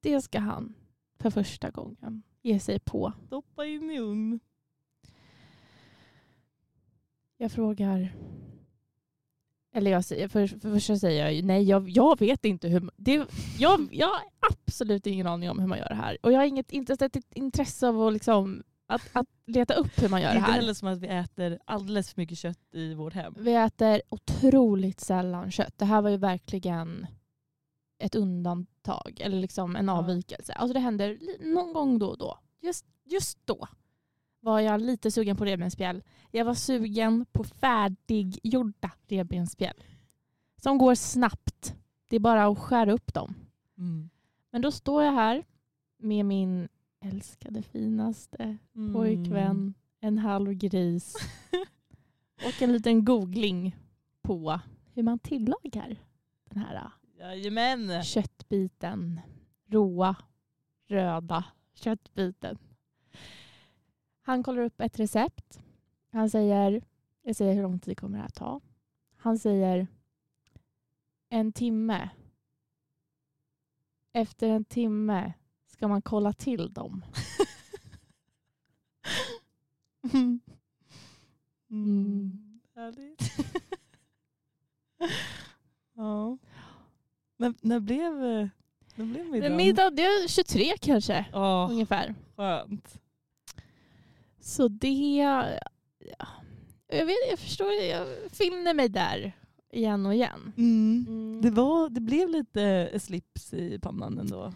Det ska han för första gången ge sig på. Doppa in i ugn. Jag frågar... Eller jag säger, för, för första säger jag ju nej, jag, jag vet inte hur... Det, jag, jag har absolut ingen aning om hur man gör det här. Och jag har inget, inte ens ett intresse av att, liksom, att, att leta upp hur man Det gör är det inte här. heller som att vi äter alldeles för mycket kött i vårt hem. Vi äter otroligt sällan kött. Det här var ju verkligen ett undantag eller liksom en Ja. avvikelse. Alltså det händer li- någon gång då och då. Just, just då var jag lite sugen på revbensspjäll. Jag var sugen på färdiggjorda revbensspjäll. Som går snabbt. Det är bara att skära upp dem. Mm. Men då står jag här med min älskade finaste Mm. pojkvän, en halv gris och en liten googling på hur man tillagar den här Jajamän. [laughs] ah, köttbiten. Råa, röda köttbiten. Han kollar upp ett recept. Han säger, jag säger hur lång tid kommer det här ta? Han säger en timme. Efter en timme ska man kolla till dem. Mm. Mm. Härligt. [laughs] ja. När, när blev, när blev middagen? Middag, det är 23 kanske. Ja, Ungefär. skönt. Så det... ja, Jag, vet, jag förstår, jag finner mig där igen och igen. Mm. Det, var, det blev lite eh, slips i pannan ändå.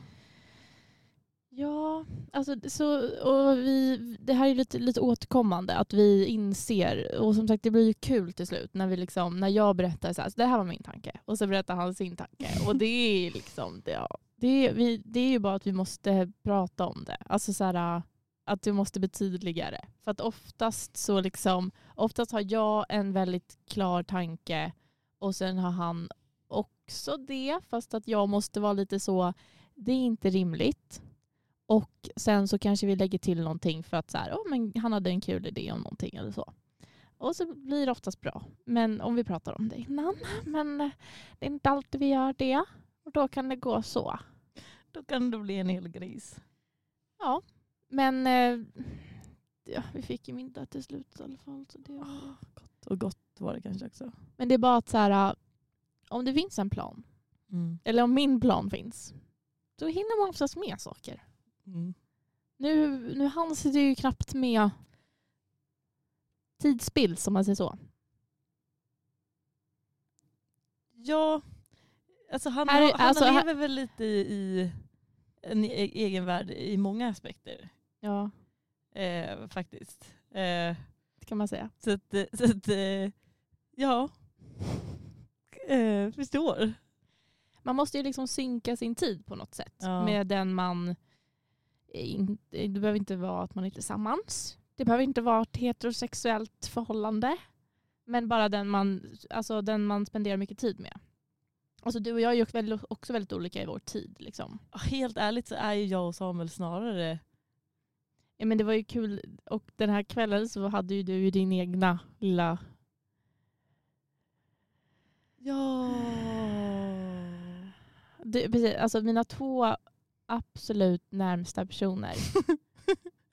Ja, alltså det- så, och vi, det här är lite, lite återkommande att vi inser och som sagt det blir ju kul till slut när, vi liksom, när jag berättar så här, så det här var min tanke och så berättar han sin tanke och det är liksom det, ja, det, är, vi, det är ju bara att vi måste prata om det. Alltså så här, äh, att det måste bli tydligare. För att oftast så liksom, oftast har jag en väldigt klar tanke och sen har han också det fast att jag måste vara lite så det är inte rimligt. Och sen så kanske vi lägger till någonting för att så här, "Åh, men han hade en kul idé om någonting eller så. Och så blir det oftast bra. Men om vi pratar om det innan. [laughs] Men eh, det är inte alltid vi gör det. Och då kan det gå så. Då kan det bli en hel gris. Men eh, ja, vi fick ju middag till slut i alla fall. Så det var Ah. ju- Gott och gott var det kanske också. men det är bara att så här, eh, om det finns en plan. Mm. Eller om min plan finns. Då hinner man oftast med saker. Mm. Nu, nu hann det ju knappt med tidsspill som man säger så. Ja, alltså han, Här är- han alltså här- lever väl lite i, i en e- egen värld i många aspekter Ja, eh, faktiskt. Eh, det kan man säga. så att, eh, så att eh, ja, eh, förstår. Man måste ju liksom synka sin tid på något sätt Ja. med den man... In, det behöver inte vara att man är tillsammans. Det behöver inte vara ett heterosexuellt förhållande. Men bara den man, alltså den man spenderar mycket tid med. Alltså du och jag är ju också väldigt- också väldigt olika i vår tid. Liksom. Helt ärligt så är ju jag och Samuel snarare, Ja, men det var ju kul. Och den här kvällen så hade ju du ju din egna lilla... ja, Du, precis, alltså mina två absolut närmsta personer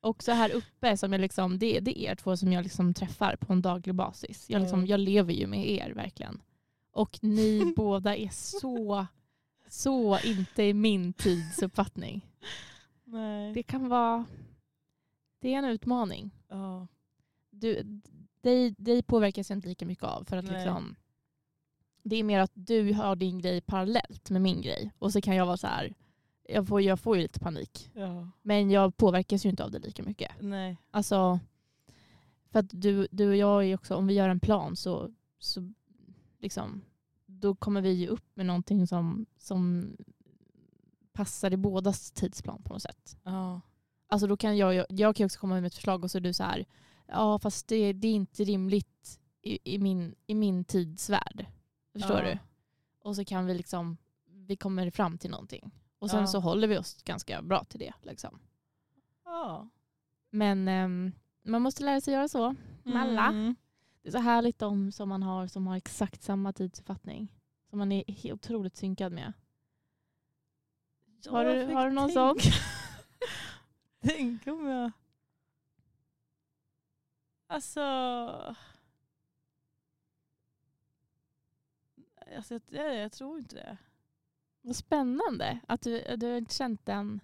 Och så här uppe, som jag liksom, det, det är er två som jag liksom träffar på en daglig basis. Jag, liksom, Mm. jag lever ju med er verkligen. Och ni båda är så, så inte i min tidsuppfattning. Nej. Det kan vara, det är en utmaning. ja. Du, dig, dig påverkas jag inte lika mycket av för att Nej. liksom, det är mer att du har din grej parallellt med min grej. Och så kan jag vara så här, jag får, jag får ju lite panik. Ja. Men jag påverkas ju inte av det lika mycket. Nej. Alltså, för att du, du och jag är ju också, om vi gör en plan så, så liksom, då kommer vi ju upp med någonting som, som passar i bådas tidsplan på något sätt. Ja. Alltså då kan jag, ju- jag kan ju också komma med ett förslag och så är du så här, ja fast det, det är inte rimligt i, i, min, i min tidsvärld. Förstår ja. du? Och så kan vi liksom, vi kommer fram till någonting. Och sen Ja. så håller vi oss ganska bra till det. Liksom. Ja. Men ehm, man måste lära sig göra så. Malla. Mm. Det är så härligt de som man har som har exakt samma tidsuppfattning. Som man är he- otroligt synkad med. Har Jag du- fick har du någon tänka- [laughs] Tänk om jag... Alltså... alltså jag, jag, jag tror inte det. Vad spännande att du, du har inte känt den.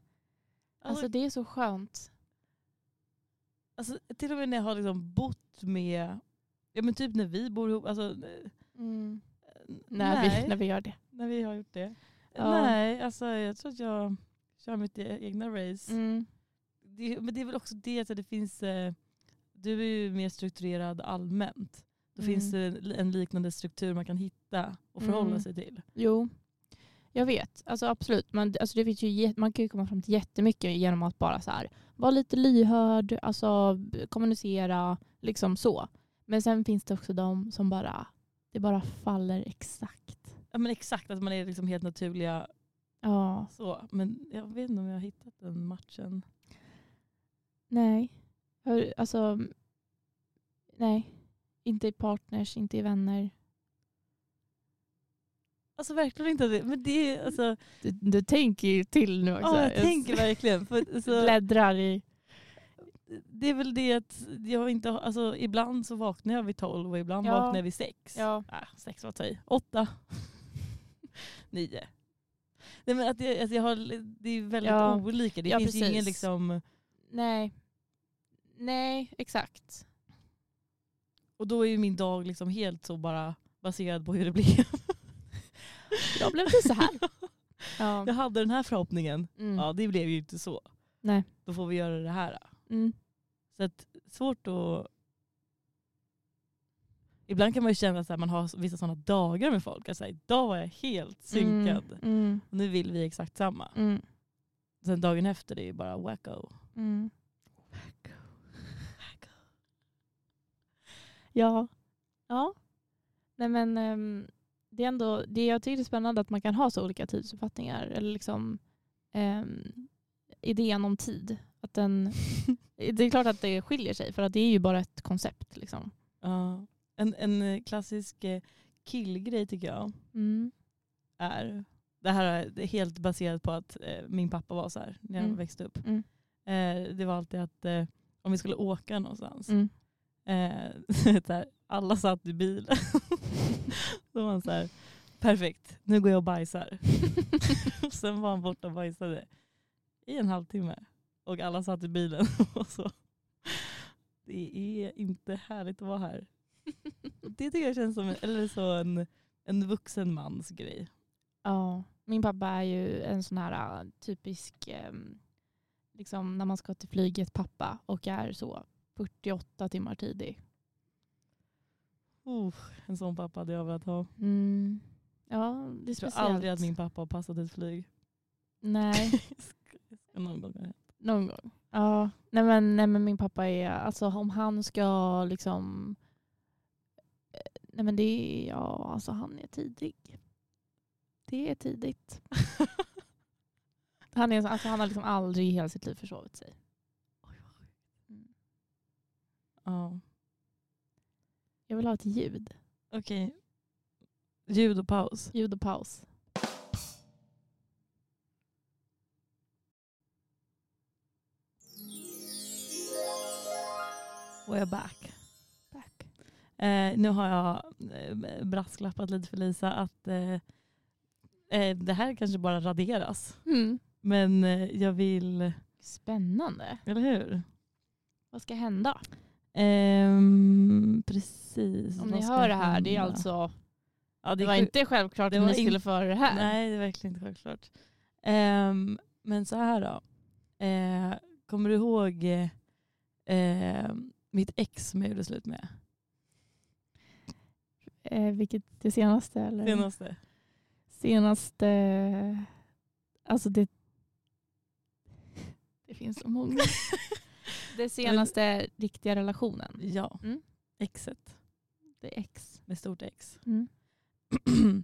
Alltså Alltså, det är så skönt. alltså, till och med när jag har liksom bott med... Ja men typ när vi bor ihop. Alltså, eh, När, nej, vi, när vi gör det. när vi har gjort det. Ja. Nej, alltså jag tror att jag kör mitt e- egna race. Det, men det är väl också det att det finns... eh, Du är ju mer strukturerad allmänt. Då Mm. finns det en- en liknande struktur man kan hitta och förhålla Mm. sig till. Jo, jag vet. Alltså absolut. Man, alltså, det finns ju, jä- man kan ju komma fram till jättemycket genom att bara så här, vara lite lyhörd, alltså, b- kommunicera, liksom så. Men sen finns det också de som bara, det bara faller exakt. Ja, men exakt, att man är liksom helt naturliga. Ja, så. Men jag vet inte om jag har hittat den matchen. nej. Hör, alltså, nej. Inte i partners, inte i vänner. Alltså verkligen inte det. Men det är alltså, Du, du tänker ju till nu ja, jag tänker verkligen. För, alltså, Bläddrar i... det är väl det att jag inte har, alltså, ibland så vaknar jag vid tolv och ibland Ja. vaknar jag vid sex. Ja. Ah, sex var att ta i. Åtta. [laughs] Nio. Nej, men att jag, att jag har, det är väldigt Ja. olika. Det Ja, finns ju ingen precis. liksom... Nej. Nej, exakt. Och då är ju min dag liksom helt så bara baserad på hur [laughs] det blev. Idag blev det så här. Ja. [laughs] Jag hade den här förhoppningen. Mm. Ja, det blev ju inte så. Nej. Då får vi göra det här. Mm. Så att, svårt att... Ibland kan man ju känna att så här, man har vissa sådana dagar med folk. Att så här, idag var jag helt synkad. Mm. Mm. Och nu vill vi exakt samma. Mm. Sen dagen efter det är ju bara wacko. Mm. Ja. Ja. Nej men ehm, det är ändå, det jag tycker det är spännande att man kan ha så olika tidsuppfattningar. Eller liksom ehm, idén om tid. Att den, det är klart att det skiljer sig för att det är ju bara ett koncept. Liksom. Ja. En, en eh, klassisk eh, killgrej tycker jag Mm. är, det här är det är helt baserat på att eh, min pappa var så här när jag Mm. växte upp. Mm. Eh, det var alltid att eh, om vi skulle åka någonstans, Mm. eh, [laughs] så här, alla satt i bilen. [laughs] Då var han så här, perfekt, nu går jag och bajsar. [laughs] Och Sen var han borta och bajsade i en halvtimme. Och alla satt i bilen. [laughs] Och så. Det är inte härligt att [laughs] vara här. Det tycker jag känns som en, eller så en, en vuxen mans grej. Ja, min pappa är ju en sån här äh, typisk, ehm, liksom när man ska till flyget pappa och är så 48 timmar tidig. Oh, en sån pappa hade jag velat ha. Mm. Ja, det är Jag tror speciellt. aldrig att min pappa har passat ett flyg. [laughs] Nej, Någon gång. har det hänt. någon gång. Ja, nej men, nej men min pappa är, alltså om han ska liksom, eh, nej men det är, ja alltså han är tidig. Det är tidigt. [laughs] Han, är, alltså, han har liksom aldrig i hela sitt liv försovit sig. Ja. Jag vill ha ett ljud. Okej. Ljud och paus. Ljud och paus. We're back. Tack. Eh, nu har jag eh, brasklappat lite för Lisa att eh, eh, det här kanske bara raderas. Mm. Men eh, jag vill, Spännande. eller hur? Vad ska hända? Ehm, precis. Om vad ni ska hör det här, det är hända? alltså Ja, Det är var sjukt. inte självklart det att var ni skulle in- få höra det här. Nej, det är verkligen inte självklart. Ehm, men så här då. Eh, kommer du ihåg eh, ehm, mitt ex som jag gjorde slut med? Eh, vilket det senaste? Eller? Senaste. Senaste... Alltså det... Det finns så många. [laughs] det senaste riktiga relationen. Ja, Mm. exet Det är ex. med stort ex. Mm. [clears throat]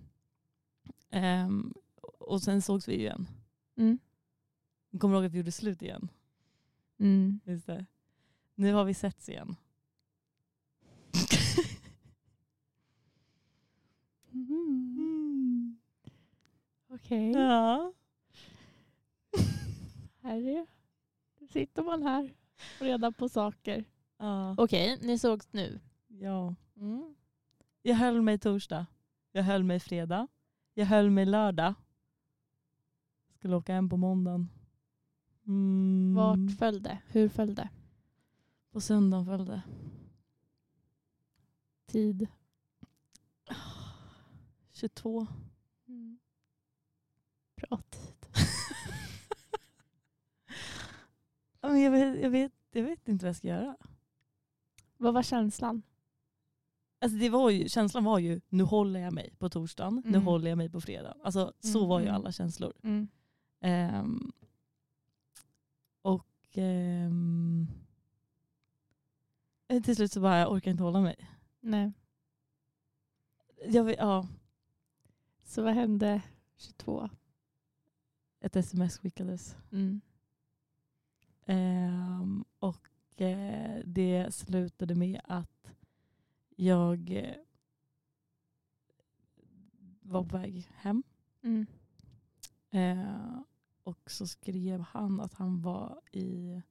Ehm, och sen sågs vi ju igen. Mm. Kommer du ihåg att vi gjorde slut igen? Mm. Just det. Nu har vi setts igen. Okej, [laughs] Mm. [laughs] Ja. här är... nu sitter man här och reda på saker. ja. Okej, ni sågs nu. ja. Mm. Jag höll mig torsdag. Jag höll mig fredag. Jag höll mig lördag. Skulle åka hem på måndagen. Mm. Vart föll det? Hur föll det? På söndagen följde. Tid? [laughs] 22. Mm. Bra tid. Ja, men Jag vet, jag, vet, jag vet inte vad jag ska göra. Vad var känslan? Alltså det var ju, känslan var ju, nu håller jag mig på torsdagen, nu Mm. håller jag mig på fredagen. Alltså, så Mm, var ju mm. alla känslor. Ehm, och ehm, eh, till slut så bara, jag orkar inte hålla mig. Nej. Jag, vet- ja, Så vad hände 22? ett sms skickades. Mm. Ehm, och eh, det slutade med att jag eh, var på väg hem. Mm. Eh, och så skrev han att han var i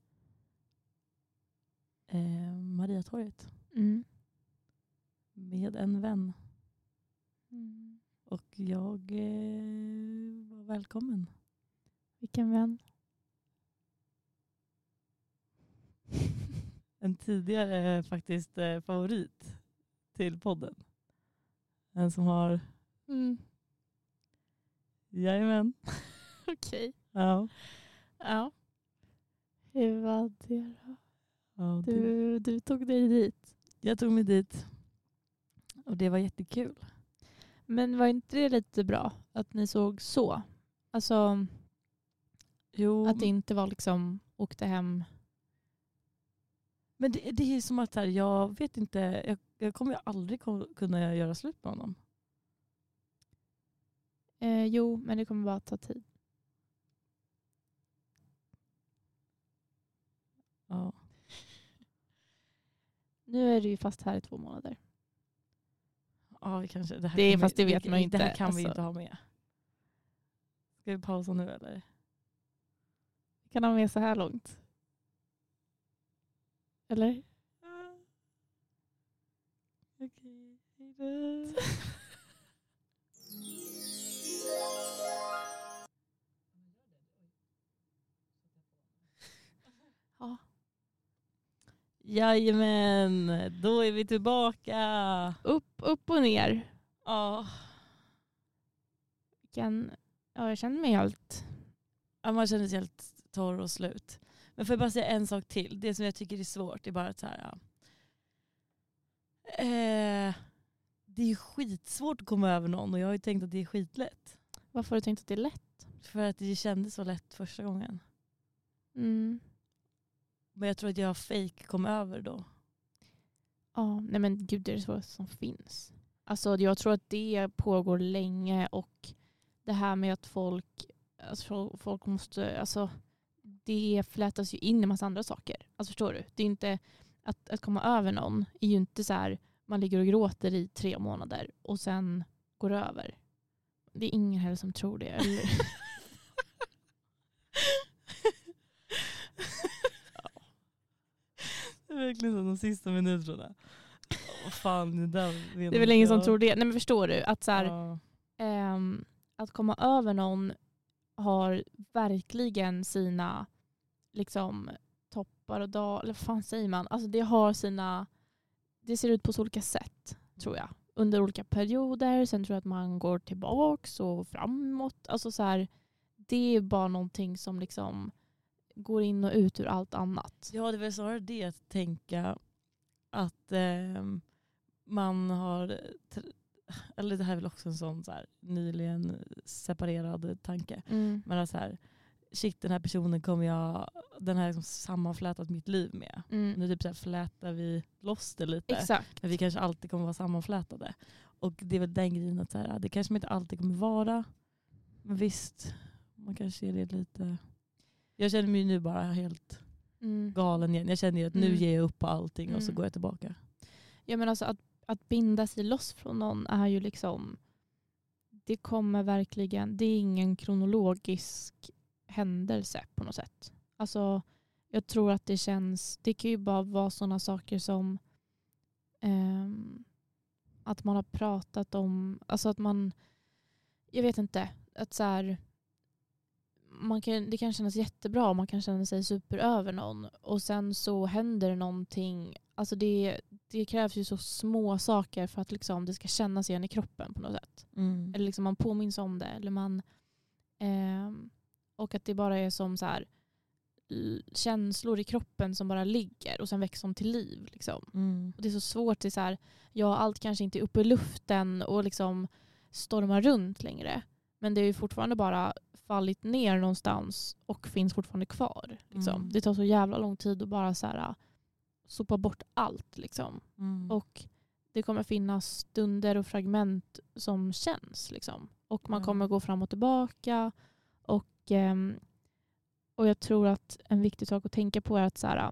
eh, Mariatorget Mm. med en vän. Mm. Och jag eh, var välkommen. Vilken vän. En tidigare eh, faktiskt eh, favorit till podden. En som har, Mm. jajamän. [laughs] Okej. Ja. Ja. Hur var det då? Ja, det, Du, du tog dig dit. jag tog mig dit och det var jättekul. Men var inte det lite bra att ni såg så? Alltså Jo, att det inte var liksom åkte hem. men det, det är ju som att så här, jag vet inte, jag, jag kommer ju aldrig ko- kunna göra slut med honom. Eh, jo, men det kommer bara ta tid. Ja. Nu är du ju fast här i två månader. Ja, vi kanske. Det, här Det är- kommer- fast det vet man ju Det här inte, kan vi ju alltså. inte ha med. Ska vi pausa nu eller? Kan ha med så här långt. Eller? Okej, hejdå. Ja. Jajamän, då är vi tillbaka. Upp, upp och ner. Ja, Vilken, ja, jag känner mig helt... Ja, man känner sig helt torr och slut. Men får jag bara säga en sak till? Det som jag tycker är svårt är bara att så här. ja. Eh, det är ju skitsvårt att komma över någon och jag har ju tänkt att det är skitlätt. Varför har du tänkt att det är lätt? För att det kändes så lätt första gången. Mm. Men jag tror att jag fake kom över då. Ja, nej men gud det är det svåraste som finns. Alltså jag tror att det pågår länge och det här med att folk, alltså, folk måste, alltså det flätas ju in i massa andra saker. Alltså förstår du? Det är inte, att, att komma över någon är ju inte så här, man ligger och gråter i tre månader och sen går det över. Det är ingen heller som tror det. [laughs] Eller? Det är verkligen så de sista minuterna. Åh, fan, det, där vet Det är väl inte ingen jag. som tror det. Nej men förstår du? Att så här, Ja. ehm, att komma över någon har verkligen sina liksom, toppar och dalar, eller vad fan säger man? Alltså det har sina, det ser ut på så olika sätt tror jag. under olika perioder. Sen tror jag att man går tillbaks och framåt. Alltså så här, det är bara någonting som liksom går in och ut ur allt annat. Ja, det är väl snarare det att tänka att ehm, man har, tr- eller det här är väl också en sån så här, nyligen separerad tanke. Men att så här, shit den här personen kommer jag, den har liksom sammanflätat mitt liv med. Mm. Nu typ så här flätar vi loss det lite. Exakt. Men vi kanske alltid kommer vara sammanflätade. Och det är väl den grejen att så här, det kanske man inte alltid kommer vara. Men visst, man kanske är det lite. Jag känner mig ju nu bara helt Mm. galen igen. Jag känner ju att nu Mm. ger jag upp på allting och så Mm. går jag tillbaka. Ja, men alltså att, att binda sig loss från någon är ju liksom, det kommer verkligen, det är ingen kronologisk händelse på något sätt. Alltså jag tror att det känns, det kan ju bara vara sådana saker som ehm, att man har pratat om, alltså att man, jag vet inte, att så här, man kan, det kan kännas jättebra och man kan känna sig super över någon och sen så händer det någonting, alltså det, det krävs ju så små saker för att liksom det ska kännas igen i kroppen på något Mm. sätt. Eller liksom man påminns om det. Eller man, ehm, och att det bara är som så här, l- känslor i kroppen som bara ligger och sen väcks de till liv. Liksom. Mm. Och det är så svårt, det är så här, ja allt kanske inte är uppe i luften och liksom stormar runt längre. Men det är ju fortfarande bara fallit ner någonstans och finns fortfarande kvar. Liksom. Mm. Det tar så jävla lång tid att bara så här, sopa bort allt. Liksom. Mm. Och det kommer finnas stunder och fragment som känns. Liksom. Och man Ja. kommer gå fram och tillbaka. Och, ehm, och jag tror att en viktig sak att tänka på är att så här, äh,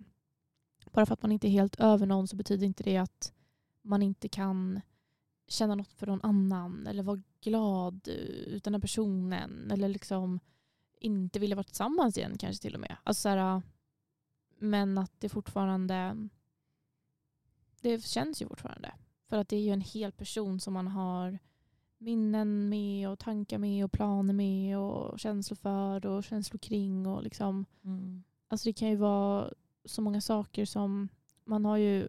bara för att man inte är helt över någon så betyder inte det att man inte kan känna något för någon annan eller vara glad eh, utan den personen eller liksom inte vilja vara tillsammans igen kanske till och med. Alltså så här, men att det fortfarande det känns ju fortfarande. För att det är ju en hel person som man har minnen med och tankar med och planer med och känslor för och känslor kring och liksom Mm. Alltså det kan ju vara så många saker som man har ju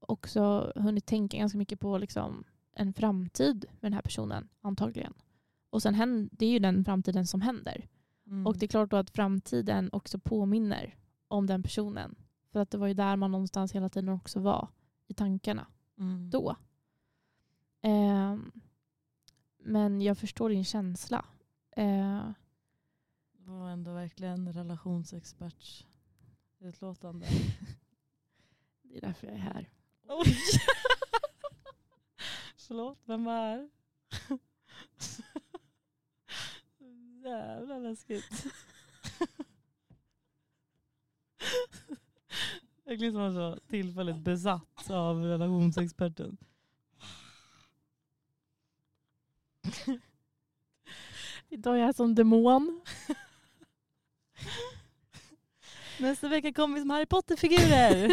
också hunnit tänka ganska mycket på liksom en framtid med den här personen antagligen. Och sen händer, det är ju den framtiden som händer. Mm. Och det är klart då att framtiden också påminner om den personen. För att det var ju där man någonstans hela tiden också var i tankarna Mm. då. Ehm, men jag förstår din känsla. Eh, Det var ändå verkligen relationsexperts utlåtande. det är därför jag är här. [laughs] Oj! [laughs] Förlåt, vem var här? [laughs] Jävla läskigt. [laughs] Verkligen som man var så tillfälligt besatt av relationsexperten. Idag är jag som [laughs] demon. Nästa vecka kommer vi som Harry Potter-figurer.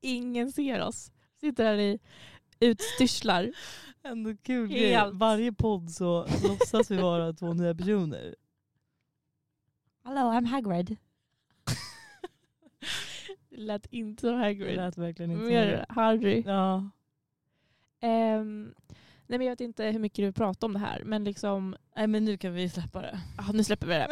Ingen ser oss. Sitter här i utstyrslar. Ändå kul grej. Helt. Varje podd så låtsas vi vara två nya personer. Hello, I'm Hagrid. Det lät inte som Det Hagrid. lät verkligen inte som Mer det. Harry. Ja. Ehm, nej men jag vet inte hur mycket du pratar om det här men liksom, Nej men nu kan vi släppa [laughs] det. ah, nu släpper vi det.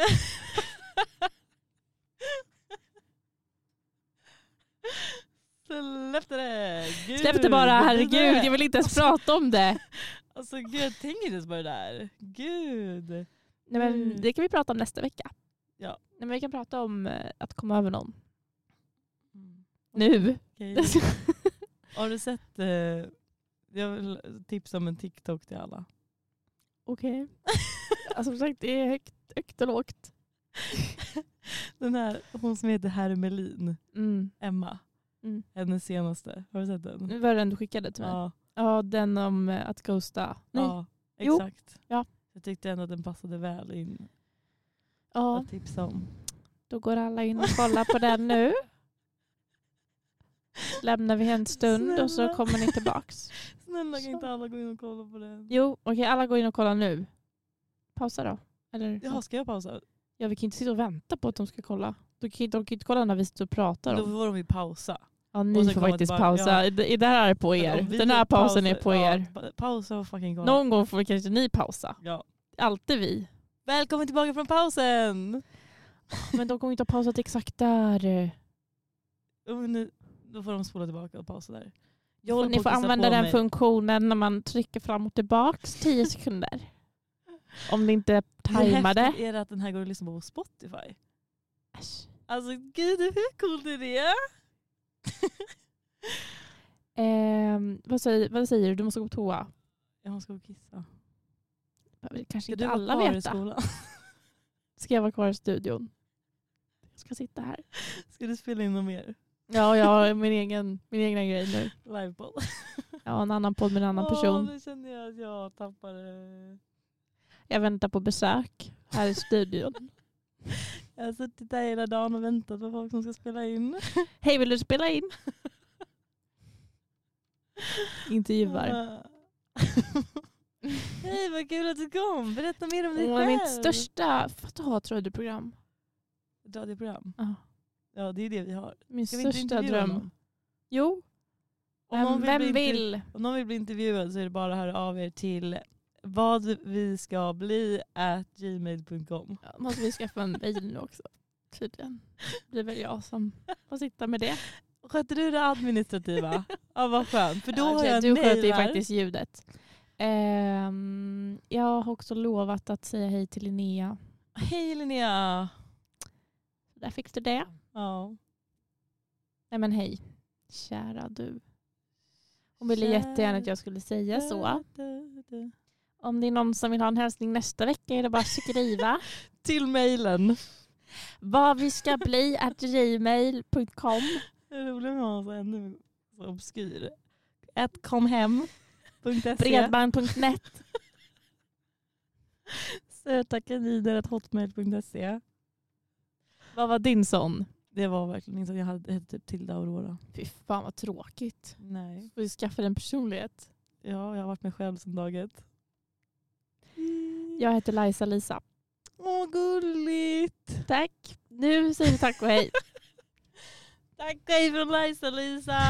Släppte det! Gud. Släpp det bara, herregud jag vill inte ens prata om det. [laughs] Alltså gud, jag tänker inte ens på det där. Gud. Nej men Mm. det kan vi prata om nästa vecka. Ja. Nej, men vi kan prata om eh, att komma över någon. Mm. Nu. Okej. [laughs] Har du sett, eh, jag vill tipsa om en TikTok till alla. Okej. Alltså, som sagt det är högt, högt och lågt. Den här, hon som heter Hermelin, Mm. Emma. Mm. Hennes senaste, har du sett den? Nu var det den du skickade till mig. Ja, Ja, den om eh, att ghosta. Nej. Ja. ja Jo. exakt. Ja. Jag tyckte ändå att den passade väl in att tipsa om. då går alla in och kollar på den [laughs] nu. Lämnar vi en stund och så Snälla. kommer ni tillbaks. Snälla kan Så. inte alla gå in och kolla på den? Jo, okej alla går in och kollar nu. Pausa då. Eller, Jaha, ska jag pausa? ja, vi kan inte sitta och vänta på att de ska kolla. De kan inte, de kan inte kolla när vi sitter och pratar. Då Om. får de ju pausa. Ja, Och ni får sen kommer faktiskt tillbaka, pausa. Det det här är på er. Om vi Den här pausen pausar- är på ja, er. pa- Pausa och fucking gå. Någon gång får kanske ni pausa. Ja. Alltid vi. Välkommen tillbaka från pausen! Men de kommer inte ha pausat exakt där. Och nu, då får de spola tillbaka och pausa där. Jag Jag håller ni på får att kissa använda på den mig. funktionen när man trycker fram och tillbaks [laughs] 10 sekunder. Om det inte är Hur tajmade. häftigt är det att den här går att lyssna på på Spotify? Äsch. Alltså gud hur coolt är det? Ehm, vad, säger, vad säger du? Du måste gå på toa. Jag ska gå och kissa. Kanske Ska inte du alla vara kvar i vet. skolan? [laughs] Ska jag vara kvar i studion? Jag ska sitta här. Ska du spela in något mer? Ja, jag har min egen, min egna grej nu. Livepoll? Jag har en annan podd med en annan Åh, person. Nu känner jag att jag tappade... Jag väntar på besök här i studion. [laughs] Jag har suttit där hela dagen och väntat på folk som ska spela in. Hej, vill du spela in? Intervjuar. Ja. [laughs] Hej vad kul att du kom. Berätta mer om dig Hon är själv. mitt största... Fatta ha ett radioprogram. radioprogram. Ja. Ja det är det vi har. Min Ska vi inte största intervjua dröm. någon? Jo, Om någon vem, vill bli vem intervju- vill? Om någon vill bli intervjuad så är det bara att höra av er till vad vi ska bli at gmail.com. Ja, Måste vi skaffa en bil nu också? Tydligen. Det blir väl jag som får sitta med det. Sköter du det [laughs] administrativa? ja vad skönt. För då Ja, har okej, jag du sköter ju nailar. faktiskt ljudet. Ehm, jag har också lovat att säga hej till Linnea. Hej Linnea. Där fick du det. Ja. Nej men hej, kära du. Hon ville Kära jättegärna att jag skulle säga så. Om det är någon som vill ha en hälsning nästa vecka är det bara att [laughs] skriva. Till mejlen. Vad vi ska bli at gmail.com. Det är roligt med honom så ännu så obskyr. At comhem.se Bredband.net. Söta kaniner at hotmail.se Vad var din sån? Det var verkligen inte, jag hade hette typ Tilda Aurora. Fy fan vad tråkigt. Nej. Får vi skaffa en personlighet. Ja, jag har varit mig själv som dag ett. Jag heter Lajsa Lisa. Åh, gulligt! [laughs] Tack. Nu säger vi tack och hej. Tack och hej från Lajsa-Lisa!